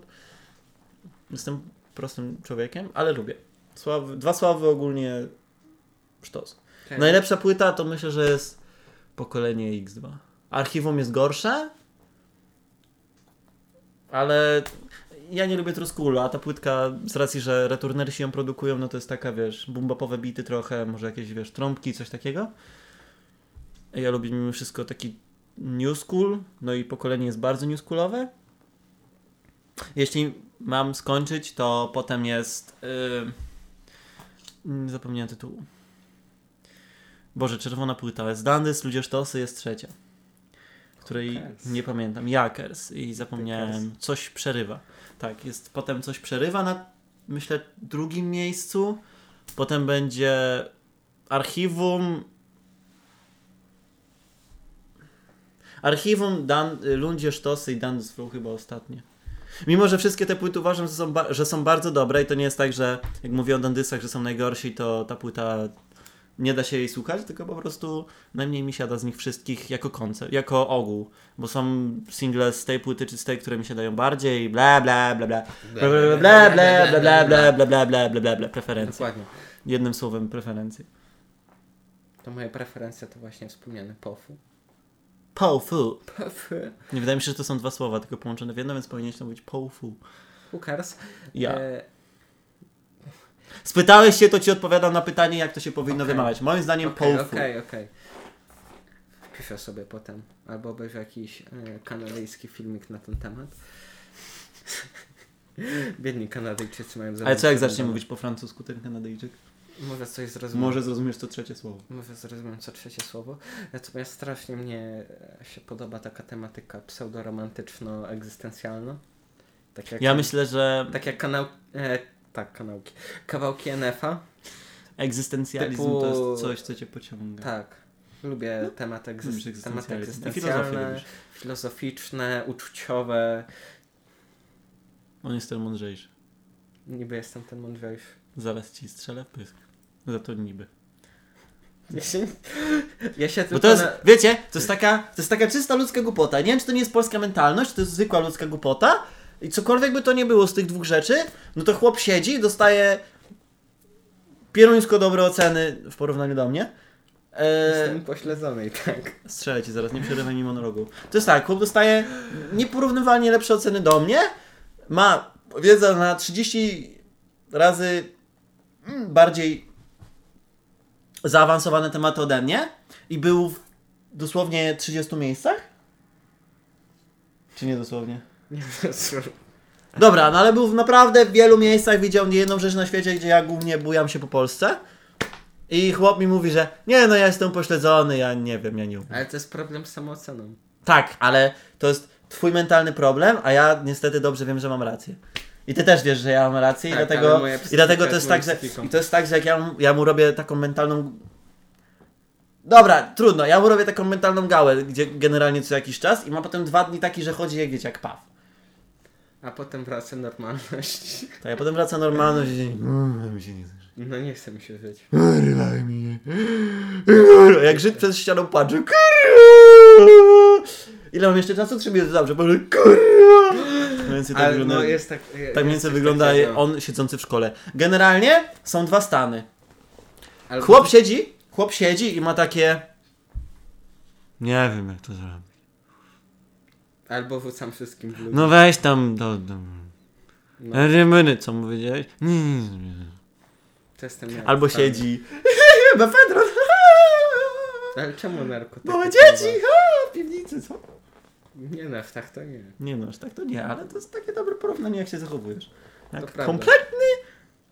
jestem prostym człowiekiem, ale lubię. Sławy, dwa sławy ogólnie sztos.
Tak.
Najlepsza płyta to myślę, że jest pokolenie X2. Archiwum jest gorsze, ale ja nie lubię Truskulu, a ta płytka z racji, że returnersi ją produkują, no to jest taka, wiesz, bumbapowe bity trochę, może jakieś, wiesz, trąbki, coś takiego. Ja lubię mimo wszystko taki new school, no i pokolenie jest bardzo new schoolowe. Jeśli mam skończyć, to potem jest. Yy... mm, Zapomniałem tytułu. Boże, czerwona płyta. Z Dandys, Ludzie Sztosy jest trzecia. Której
Hookers.
nie pamiętam. Jakers i zapomniałem. Coś przerywa. Tak, jest potem coś przerywa na myślę drugim miejscu. Potem będzie archiwum. Archiwum Dan, Lundzie Sztosy i Dan Flow chyba ostatnie. Mimo, że wszystkie te płyty uważam, że są, ba- że są bardzo dobre i to nie jest tak, że jak mówię o Dandysach, że są najgorsi, to ta płyta nie da się jej słuchać, tylko po prostu najmniej mi siada z nich wszystkich jako koncert, jako ogół, bo są single z tej płyty czy z tej, które mi się dają bardziej, bla bla bla bla, bla bla bla bla bla bla bla bla bla bla bla bla bla preferencje.
Dokładnie.
Jednym słowem preferencje.
To moje preferencje to właśnie wspomniane pofu.
Pofu.
Pofu.
Nie wydaje mi się, że to są dwa słowa, tylko połączone w jedno, więc powinieneś to mówić pofu.
Hookers.
Ja.
E,
Spytałeś się, to ci odpowiadam na pytanie, jak to się powinno
Okej.
wymawiać. Moim zdaniem
Okej,
pofu.
okej, okej. Wpiszę sobie potem. Albo obejrzę jakiś e, kanadyjski filmik na ten temat. Biedni Kanadyjczycy mają
Ale co jak zacznie
zarąbane.
mówić po francusku ten Kanadyjczyk?
Może coś zrozumieć.
Może zrozumiesz to trzecie słowo.
Mówię, zrozumiałem co trzecie słowo. Natomiast strasznie mnie e, się podoba taka tematyka pseudoromantyczno-egzystencjalna. Tak jak,
Ja myślę, że
Tak jak kanał... E, tak, kanałki. Kawałki NF-a.
egzystencjalizm
Typu-
to jest coś, co cię pociąga.
Tak. Lubię temat
No. Lubisz
egzyst- tematy
egzystencjalizm. I filozofię
egzystencjalne,
lubisz.
filozoficzne, uczuciowe.
On jest ten mądrzejszy.
Niby jestem ten mądrzejszy.
Zaraz ci strzelę w pysk. Za to niby.
Ja się, ja się
No. Bo
tylko
to jest,
na...
wiecie, to jest, taka, to jest taka czysta ludzka głupota. Nie wiem, czy to nie jest polska mentalność, czy to jest zwykła ludzka głupota. I cokolwiek by to nie było z tych dwóch rzeczy, no to chłop siedzi i dostaje pieruńsko dobre oceny w porównaniu do mnie. E,
Jestem pośledzony i tak.
strzelę ci zaraz, nie przerywaj mi monologu. To jest tak, chłop dostaje nieporównywalnie lepsze oceny do mnie, ma wiedzę na 30 razy mm, bardziej zaawansowane tematy ode mnie i był w dosłownie 30 miejscach? Czy nie dosłownie?
Nie
Dobra, no ale był w naprawdę wielu miejscach, widział niejedną rzecz na świecie, gdzie ja głównie bujam się po Polsce. I chłop mi mówi, że nie no, ja jestem pośledzony, ja nie wiem, ja nie umiem.
Ale to jest problem z samooceną.
Tak, ale to jest twój mentalny problem, a ja niestety dobrze wiem, że mam rację. I ty też wiesz, że ja mam rację
Tak,
i
ale
dlatego,
moja
i dlatego to
psychika
jest tak,
jest
że
moją psychiką.
i to jest tak, że jak ja, mu- ja mu robię taką mentalną Dobra, trudno, ja mu robię taką mentalną gałę, gdzie generalnie co jakiś czas i ma potem dwa dni taki, że chodzi jak dzieciak, paw.
A potem wraca normalność.
Tak, ja potem wraca normalność i
Mm,
mi się nie
No nie chce mi się
Tak
żyć.
Kurwa mnie. Kurwa, Jak Żyd przez ścianą patrzy. Kurwa. Ile mam jeszcze czasu? Trzy minuty, dobrze. Boże, kurwa. Mniej więcej tak
Ale
wygląda,
no jest no. tak...
tak mniej więcej wygląda on siedzący w szkole. Generalnie są dwa stany.
Albo,
Chłop siedzi, chłop siedzi i ma takie... Nie wiem jak to zrobić.
albo wrzucam wszystkim w ludzi.
No weź tam do... do...
No.
Rymy, co mu powiedziałeś? Nie, nie, nie, nie.
To jestem ja. Tak.
Albo
totalnie.
siedzi... Befedron!
Ale czemu narkotyki?
Małe dzieci! A, w piwnicy, co?
Nie no, tak to nie.
Nie no, aż tak to nie, ale to jest takie dobre porównanie, jak się zachowujesz. Jak
prawda.
kompletny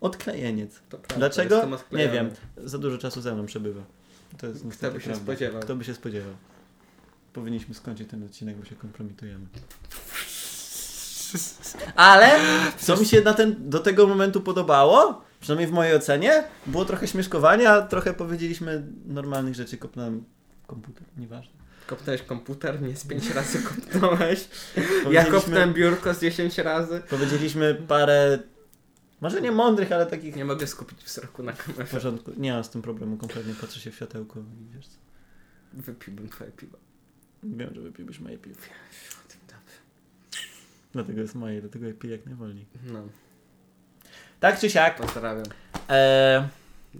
odklejeniec.
To prawda,
Dlaczego?
jestem
Nie
odklejony.
wiem. Za dużo czasu ze mną przebywa. To jest niestety
by się
prawda.
spodziewał?
Kto by się spodziewał? Powinniśmy skończyć ten odcinek, bo się kompromitujemy. Ale co mi się na ten, do tego momentu podobało, przynajmniej w mojej ocenie, było trochę śmieszkowania, trochę powiedzieliśmy normalnych rzeczy, kopnąłem komputer, nieważne.
Kopnąłeś komputer? Nie, z pięć razy kopnąłeś. Ja
Powiedzieliśmy-
kopnąłem biurko z 10 razy.
Powiedzieliśmy parę, może nie mądrych, ale takich
Nie mogę skupić wzroku na
w
kamerze.
porządku. Nie mam z tym problemu kompletnie, patrzę się w światełko i wiesz co.
Wypiłbym twoje piwo.
Wiem, że wypiłbyś moje piwo. Dlatego jest moje, dlatego je piję jak najwolniej.
No,
Tak czy siak,
pozdrawiam.
e,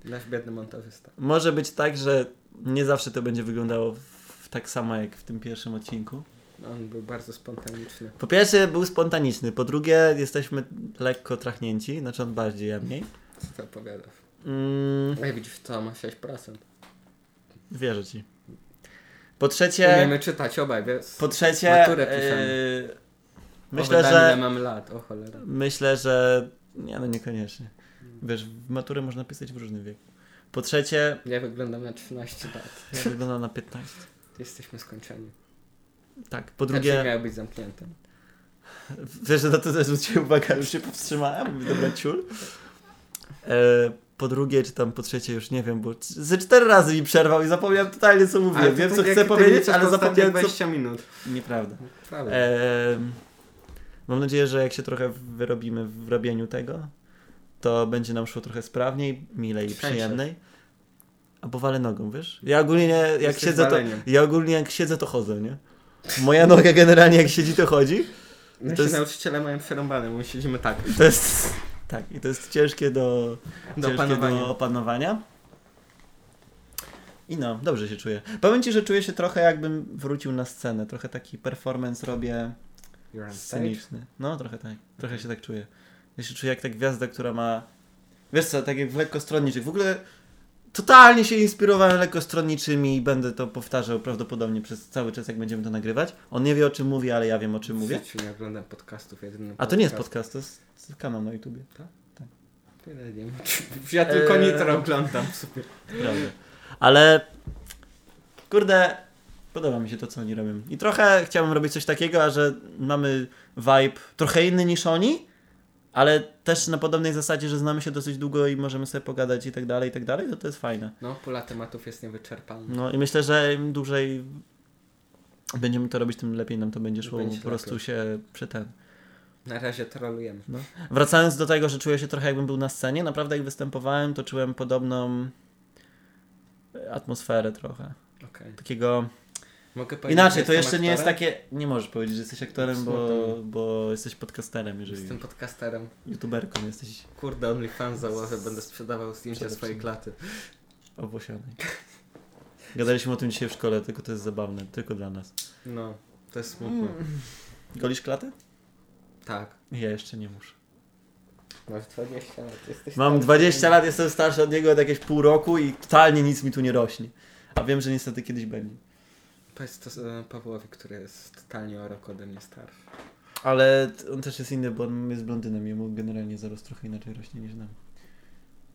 Nasz biedny montażysta.
może być tak, że nie zawsze to będzie wyglądało w, tak samo jak w tym pierwszym odcinku.
No, On był bardzo spontaniczny.
Po pierwsze był spontaniczny, po drugie jesteśmy lekko trachnięci, znaczy on bardziej, ja mniej.
Co ty opowiadasz?
Mm,
Jak widzisz, to ma 6%.
wierzę ci. Po trzecie,
Umiemy czytać obaj, więc
po trzecie
Maturę piszemy.
yy,
o
myślę,
wydaniu, ile
że
mam lat, o cholera.
myślę, że nie no niekoniecznie. Wiesz, w maturę można pisać w różnym wieku. Po trzecie,
Ja wyglądam na 13 lat.
ja wyglądam na 15.
Jesteśmy skończeni.
Tak, po
Drugie...
drugie,
miało być zamknięte.
wiesz, że na to też zwróciłem uwagę, już się powstrzymałem, mówię, dobra, ciul. E, po drugie, czy tam po trzecie, już nie wiem, bo c- ze cztery razy mi przerwał i zapomniałem totalnie, co mówiłem. Wiem,
tak
co chcę powiedzieć, ale zapomniałem, co...
20 minut.
Nieprawda.
Prawda.
Em, mam nadzieję, że jak się trochę wyrobimy w robieniu tego, to będzie nam szło trochę sprawniej, milej i
Trzęsie.
przyjemniej. A powalę nogą, wiesz? Ja ogólnie nie, jak
Jesteś
siedzę, to,
waleniem.
ja ogólnie jak siedzę, to chodzę, nie? Moja noga generalnie jak siedzi, to chodzi.
Nasi
to jest-
nauczyciele mają przerąbane, bo my siedzimy tak.
I To jest. Tak, i to jest ciężkie do,
Do
ciężkie
opanowania.
do opanowania. I no, dobrze się czuję. Powiem ci, że czuję się trochę jakbym wrócił na scenę. Trochę taki performance robię.
You're on stage.
Sceniczny. No, trochę tak. Trochę się tak czuję. Ja się czuję jak ta gwiazda, która ma. Wiesz co, tak jak w lekkostronniczych. W ogóle totalnie się inspirowałem lekkostronniczymi i będę to powtarzał prawdopodobnie przez cały czas, jak będziemy to nagrywać. On nie wie o czym mówi, ale ja wiem o czym mówię.
W życiu nie oglądam podcastów, jedyny
A to nie jest
podcast.
podcast, to jest kanał na YouTubie.
Ja, nie wiem, czy- ja tylko
Eee.
nitro oglądam sobie.
Prawda. Ale kurde, podoba mi się to, co oni robią. I trochę chciałbym robić coś takiego, a że mamy vibe trochę inny niż oni, ale też na podobnej zasadzie, że znamy się dosyć długo i możemy sobie pogadać i tak dalej, i tak dalej, to to jest fajne.
No, pula tematów jest niewyczerpalna.
No i myślę, że im dłużej będziemy to robić, tym lepiej nam to będzie szło.
Będzie
po prostu
lepiej.
się przy ten. no.
Na razie trolujemy.
Wracając do tego, że czuję się trochę jakbym był na scenie, naprawdę jak występowałem, to czułem podobną atmosferę trochę.
Okej.
Takiego
Mogę powiedzieć, że
Inaczej, to
jestem
jeszcze nie jest
aktorem?
takie. Nie możesz powiedzieć, że jesteś aktorem, bo,
Smutno
bo jesteś podcasterem, jeżeli
Jestem podcasterem.
youtuberką jesteś
Kurde, OnlyFans założę, będę sprzedawał zdjęcia
Sprzedaj
swojej klaty.
obłosianej. Gadaliśmy o tym dzisiaj w szkole, tylko to jest zabawne, tylko dla nas.
No, to jest smutne.
Mm. Golisz klatę?
Tak.
Ja jeszcze nie muszę.
Masz 20 lat, jesteś...
Mam 20 lat, jestem starszy od niego od jakieś pół roku i totalnie nic mi tu nie rośnie. A wiem, że niestety kiedyś będzie.
Powiedz to e, Pawłowi, który jest totalnie o rok ode mnie starszy.
Ale t- on też jest inny, bo on jest blondynem, jemu generalnie zaraz trochę inaczej rośnie niż nam.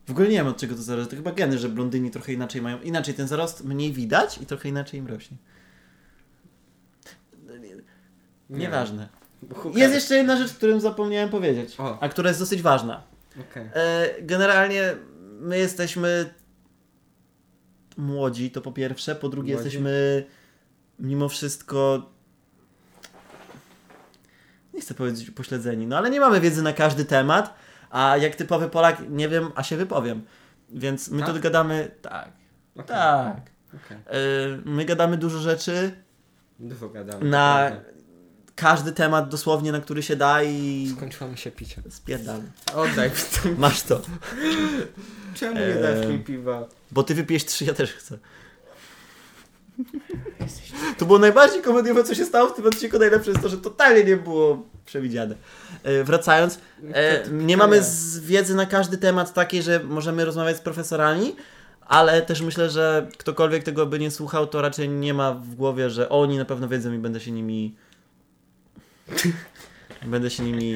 W ogóle nie wiem od czego to zależy, to chyba geny, że blondyni trochę inaczej mają. Inaczej ten zarost mniej widać i trochę inaczej im rośnie. Nieważne.
Bo hukar-
Jest jeszcze jedna rzecz, którą zapomniałem powiedzieć,
O.
a która jest dosyć ważna.
Okej.
E, generalnie my jesteśmy młodzi, to po pierwsze, po drugie
Młodzi.
jesteśmy mimo wszystko nie chcę powiedzieć upośledzeni, no ale nie mamy wiedzy na każdy temat, a jak typowy Polak nie wiem, a się wypowiem. Więc my
Tak?
tu gadamy tak,
okej,
tak.
okej.
E, my gadamy dużo rzeczy
Dużo gadamy.
na
naprawdę.
każdy temat dosłownie, na który się da i
Skończyło mi się picie.
spierdam.
Oddaj mi to.
Masz to.
Czemu
nie
nie
dałeś
dajesz
mi
mi piwa?
Bo ty wypijesz trzy, ja też chcę. To było najbardziej komediowe, co się stało w tym odcinku. Najlepsze jest to, że totalnie nie było przewidziane. E, Wracając, e, nie mamy z wiedzy na każdy temat takiej, że możemy rozmawiać z profesorami, ale też myślę, że ktokolwiek tego by nie słuchał, to raczej nie ma w głowie, że oni na pewno wiedzą i będę się nimi. będę się nimi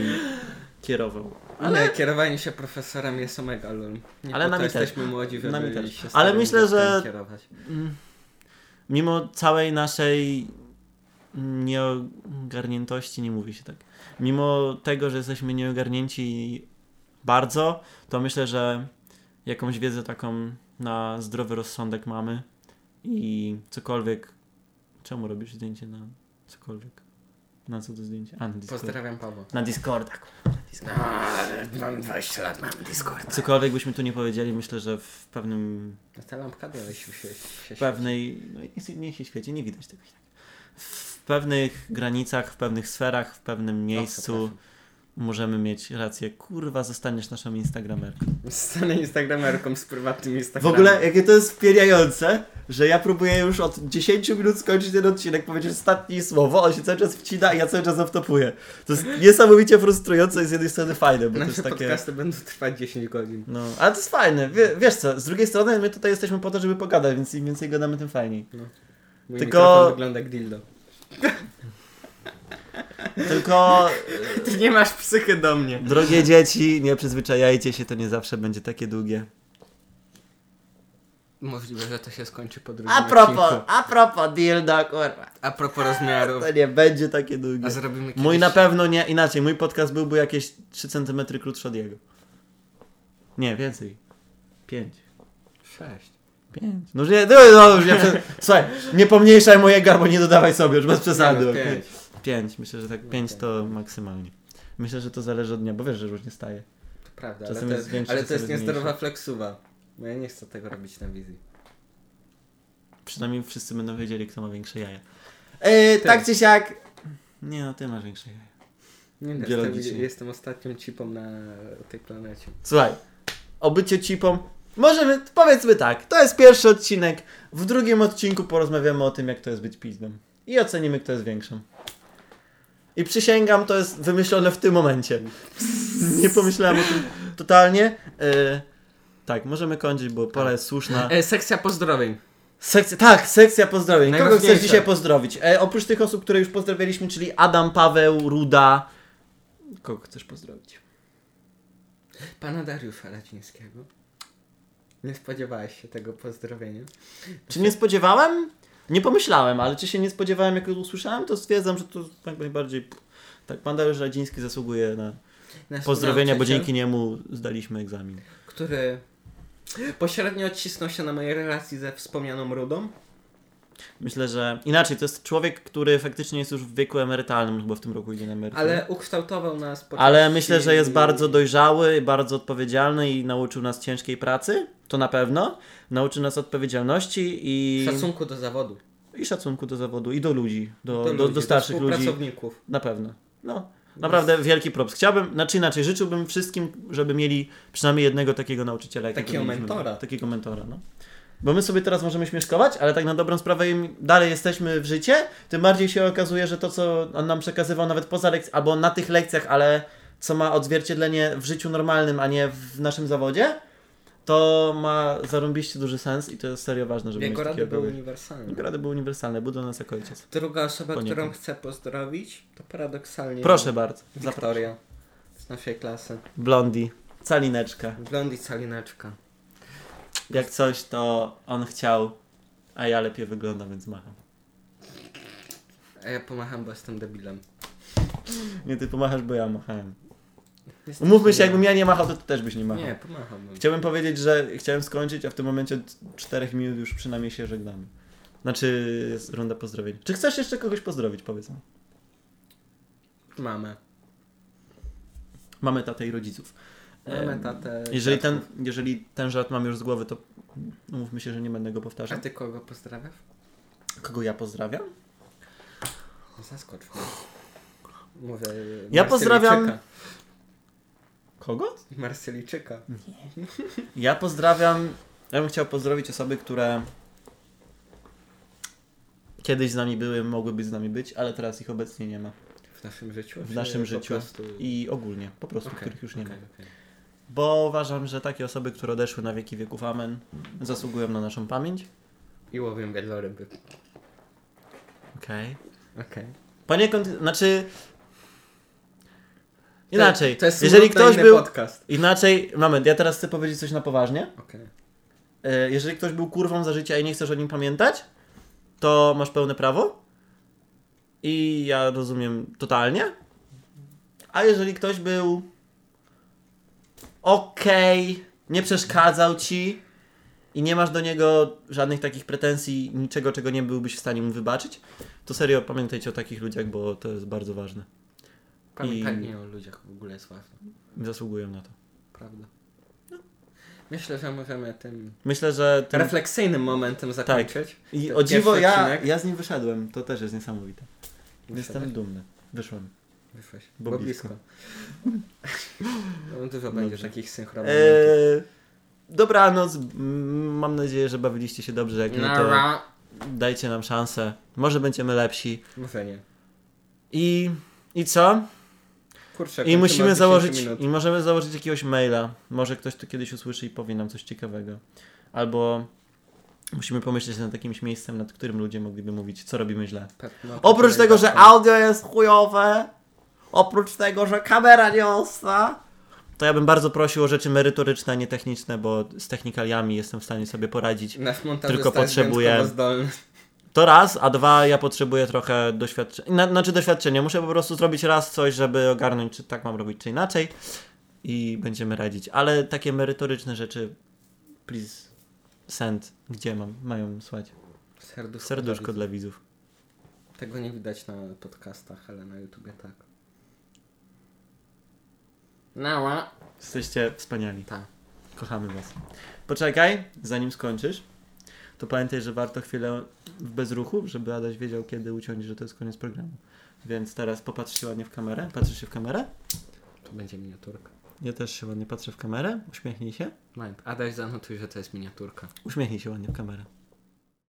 kierował.
Ale kierowanie się profesorem jest omega lol. Nie
Ale
po to
nami też.
jesteśmy młodzi, żeby
Nami też.
się
Ale
starym
myślę, że-
dzieckiem kierować.
Mm. mimo całej naszej nieogarniętości, nie mówi się tak. Mimo tego, że jesteśmy nieogarnięci bardzo, to myślę, że jakąś wiedzę taką na zdrowy rozsądek mamy i cokolwiek. Czemu robisz zdjęcie na cokolwiek? Na co to zdjęcie? A, na Discord.
Pozdrawiam Pawła.
Na Discorda. kurwa.
Mam 20 lat, mam Discord. tak.
Cokolwiek byśmy tu nie powiedzieli, myślę, że w pewnym
Ta lampka dalej się, się, się
pewnej, no niech, się- niech się świeci, nie widać tego i tak. W pewnych granicach, w pewnych sferach, w pewnym miejscu możemy mieć rację. Kurwa, zostaniesz naszą Instagramerką. Tak
Stanę instagramerką z prywatnym
W
Instagramem.
ogóle, jakie to jest wpierające, że ja próbuję już od 10 minut skończyć ten odcinek, powiedzieć ostatnie słowo, on się cały czas wcina i ja cały czas wtopuje. To jest niesamowicie frustrujące i z jednej strony fajne, bo to
Nasze
jest takie...
podcasty będą trwać 10 godzin.
No, ale to jest fajne. Wie, wiesz co, z drugiej strony my tutaj jesteśmy po to, żeby pogadać, więc im więcej gadamy, tym fajniej.
No. Mój
Tylko-
mikrofon wygląda jak dildo.
Tylko,
Ty nie masz psychy do mnie.
drogie dzieci, nie przyzwyczajajcie się, to nie zawsze będzie takie długie.
Możliwe, że to się skończy po drugim
A propos,
odcinku.
a propos dildo, kurwa.
A propos rozmiarów.
To nie będzie takie długie.
A zrobimy kiedyś...
Mój na pewno nie, inaczej, mój podcast byłby jakieś 3 cm krótszy od jego. Nie, więcej. 5.
Sześć.
5. No już nie, no, no już nie, prze- słuchaj, nie pomniejszaj mojego albo nie dodawaj sobie, już bez przesady.
Nie, no, pięć. No
5, myślę, że tak 5 to maksymalnie. Myślę, że to zależy od dnia, bo wiesz, że różnie staje.
To prawda,
Czasem
ale to
jest
jest,
większy,
ale to
czasem
jest
jest
niezdrowa flexuwa. Bo ja nie chcę tego robić na wizji.
Przynajmniej wszyscy będą wiedzieli, kto ma większe jaja. Yy, tak czy siak. Nie no, ty masz większe jaja.
Nie no,
Biologicznie.
jestem, jestem ostatnią cipą na tej planecie.
Słuchaj, o byciu cipą. Możemy, powiedzmy tak, to jest pierwszy odcinek. W drugim odcinku porozmawiamy o tym, jak to jest być pizdem. I ocenimy, kto jest większą. I przysięgam, to jest wymyślone w tym momencie. Nie pomyślałem o tym totalnie. Yy, tak, możemy kończyć, bo pora jest słuszna.
E, sekcja pozdrowień.
Sekcja, tak, sekcja pozdrowień. Kogo chcesz
Najważniejsze.
dzisiaj pozdrowić? E, oprócz tych osób, które już pozdrawialiśmy, czyli Adam, Paweł, Ruda. Kogo chcesz pozdrowić?
Pana Dariusza Radzińskiego. Nie spodziewałeś się tego pozdrowienia.
Czy nie spodziewałem? Nie pomyślałem, ale czy się nie spodziewałem, jak usłyszałem, to stwierdzam, że to tak najbardziej. pff, Tak, pan Dariusz Radziński zasługuje na
Nasz
pozdrowienia, bo
nauczyciel,
dzięki niemu zdaliśmy egzamin.
Który pośrednio odcisnął się na mojej relacji ze wspomnianą Rudą.
Myślę, że inaczej, to jest człowiek, który faktycznie jest już w wieku emerytalnym, bo w tym roku idzie na emeryturę.
Ale ukształtował nas po
Ale
części
myślę, że jest
i-
bardzo dojrzały, bardzo odpowiedzialny i nauczył nas ciężkiej pracy. To na pewno. Nauczył nas odpowiedzialności i
Szacunku do zawodu.
i szacunku do zawodu, i do ludzi, do, do,
ludzi,
do, starszych ludzi.
współpracowników.
Na pewno. No, naprawdę wielki props. Chciałbym, znaczy inaczej, życzyłbym wszystkim, żeby mieli przynajmniej jednego takiego nauczyciela. jakiego
Takiego
mieliśmy.
mentora.
Takiego mentora, no. Bo my sobie teraz możemy śmieszkować, ale tak na dobrą sprawę im dalej jesteśmy w życie, tym bardziej się okazuje, że to, co on nam przekazywał nawet poza lekcjami, albo na tych lekcjach, ale co ma odzwierciedlenie w życiu normalnym, a nie w naszym zawodzie, to ma zarąbiście duży sens i to jest serio ważne, żeby
Jego
mieć takie
rady były
były...
uniwersalne.
Jego rady były uniwersalne, był dla nas jako ojciec.
Druga osoba,
Poniekąd.
którą chcę pozdrowić, to paradoksalnie.
Proszę bardzo, zapraszam.
Wiktoria z naszej klasy.
Blondi, calineczka.
Blond i calineczka.
Jak coś, to on chciał, a ja lepiej wyglądam, więc macham.
A ja pomacham, bo jestem debilem.
Nie, ty pomachasz, bo ja machałem.
Jesteś
Umówmy się,
debilem.
jakbym ja nie machał, to ty też byś nie machał.
Nie, pomacham.
Chciałbym powiedzieć, że chciałem skończyć, a w tym momencie od 4 minut już przynajmniej się żegnamy. Znaczy, jest runda pozdrowień. Czy chcesz jeszcze kogoś pozdrowić, powiedz mi?
Mamę.
Mamy tatę i rodziców.
Mamę,
Em,
tatę.
Jeżeli ten,
dziadków.
jeżeli ten żart mam już z głowy, to umówmy się, że nie będę go
A
powtarzał.
ty kogo pozdrawiasz?
Kogo ja pozdrawiam?
Zaskocz mnie. Mówię.
Ja pozdrawiam-
Marsylijczyka.
Kogo?
Marsylijczyka.
Ja pozdrawiam. Ja bym chciał pozdrowić osoby, które kiedyś z nami były, mogły być z nami być, ale teraz ich obecnie nie ma.
W naszym życiu?
W
czy
naszym
po
życiu
prostu-
i ogólnie, po prostu,
Okej,
których już nie
okej,
ma.
okej.
Bo uważam, że takie osoby, które odeszły na wieki wieków Amen, zasługują na naszą pamięć.
I łowię wieloryby.
Okej.
Okej.
Poniekąd, znaczy. Inaczej.
To, to jest
jeżeli
smutny
ktoś
inny
był.
podcast.
Inaczej, moment, ja teraz chcę powiedzieć coś na poważnie.
Okej.
E, Jeżeli ktoś był kurwą za życia i nie chcesz o nim pamiętać, to masz pełne prawo. I ja rozumiem totalnie. A jeżeli ktoś był okej, nie przeszkadzał ci i nie masz do niego żadnych takich pretensji, niczego, czego nie byłbyś w stanie mu wybaczyć, to serio pamiętajcie o takich ludziach, bo to jest bardzo ważne.
Pamiętanie o ludziach w ogóle jest ważne.
Zasługują na to.
Prawda. Myślę, że możemy No. tym Tak.
Myślę, że tym...
refleksyjnym momentem zakończyć.
I
ten
o dziwo,
pierwszy
ja,
odcinek.
ja z nim wyszedłem. To też jest niesamowite. Jestem
Wyszedłeś.
dumny. Wyszłem.
Wyszłeś.
bo
Bo,
blisko.
blisko. No, dużo będzie
Dobrze.
takich synchromomentów. no
Eee, dobranoc. Mm, Mam nadzieję, że bawiliście się dobrze.
No
Jak nie, to
Nara.
dajcie nam szansę. Może będziemy lepsi.
Może nie.
I, i co?
Kurczę,
I
kończymy od
musimy
10
założyć,
minut.
i możemy założyć jakiegoś maila. Może ktoś to kiedyś usłyszy i powie nam coś ciekawego. Albo Musimy pomyśleć nad jakimś miejscem, nad którym ludzie mogliby mówić, co robimy źle.
Pat- no,
Oprócz
pat-
tego, że audio jest chujowe, oprócz tego, że kamera nie ostra, to ja bym bardzo prosił o rzeczy merytoryczne, a nie techniczne, bo z technikaliami jestem w stanie sobie poradzić.
Nasz montaż
tylko
tylko
potrzebuję-
potrzebuje. Zdolny.
To raz, a dwa, ja potrzebuję trochę doświadczenia. Na, znaczy doświadczenia, muszę po prostu zrobić raz coś, żeby ogarnąć, czy tak mam robić, czy inaczej. I będziemy radzić. Ale takie merytoryczne rzeczy, please, send, gdzie mam, mają słać.
Serduszko.
Serduszko dla widzów.
Tego nie widać na podcastach, ale na YouTubie tak. Nała.
Jesteście wspaniali.
Tak.
Kochamy was. Poczekaj, zanim skończysz, to pamiętaj, że warto chwilę w bezruchu, żeby Adaś wiedział, kiedy uciąć, że to jest koniec programu. Więc teraz popatrz się ładnie w kamerę. Patrzysz się w kamerę?
To będzie miniaturka.
Ja też się ładnie patrzę w kamerę. Uśmiechnij się.
Moment, Adaś zanotuj, że to jest miniaturka.
Uśmiechnij się ładnie w kamerę.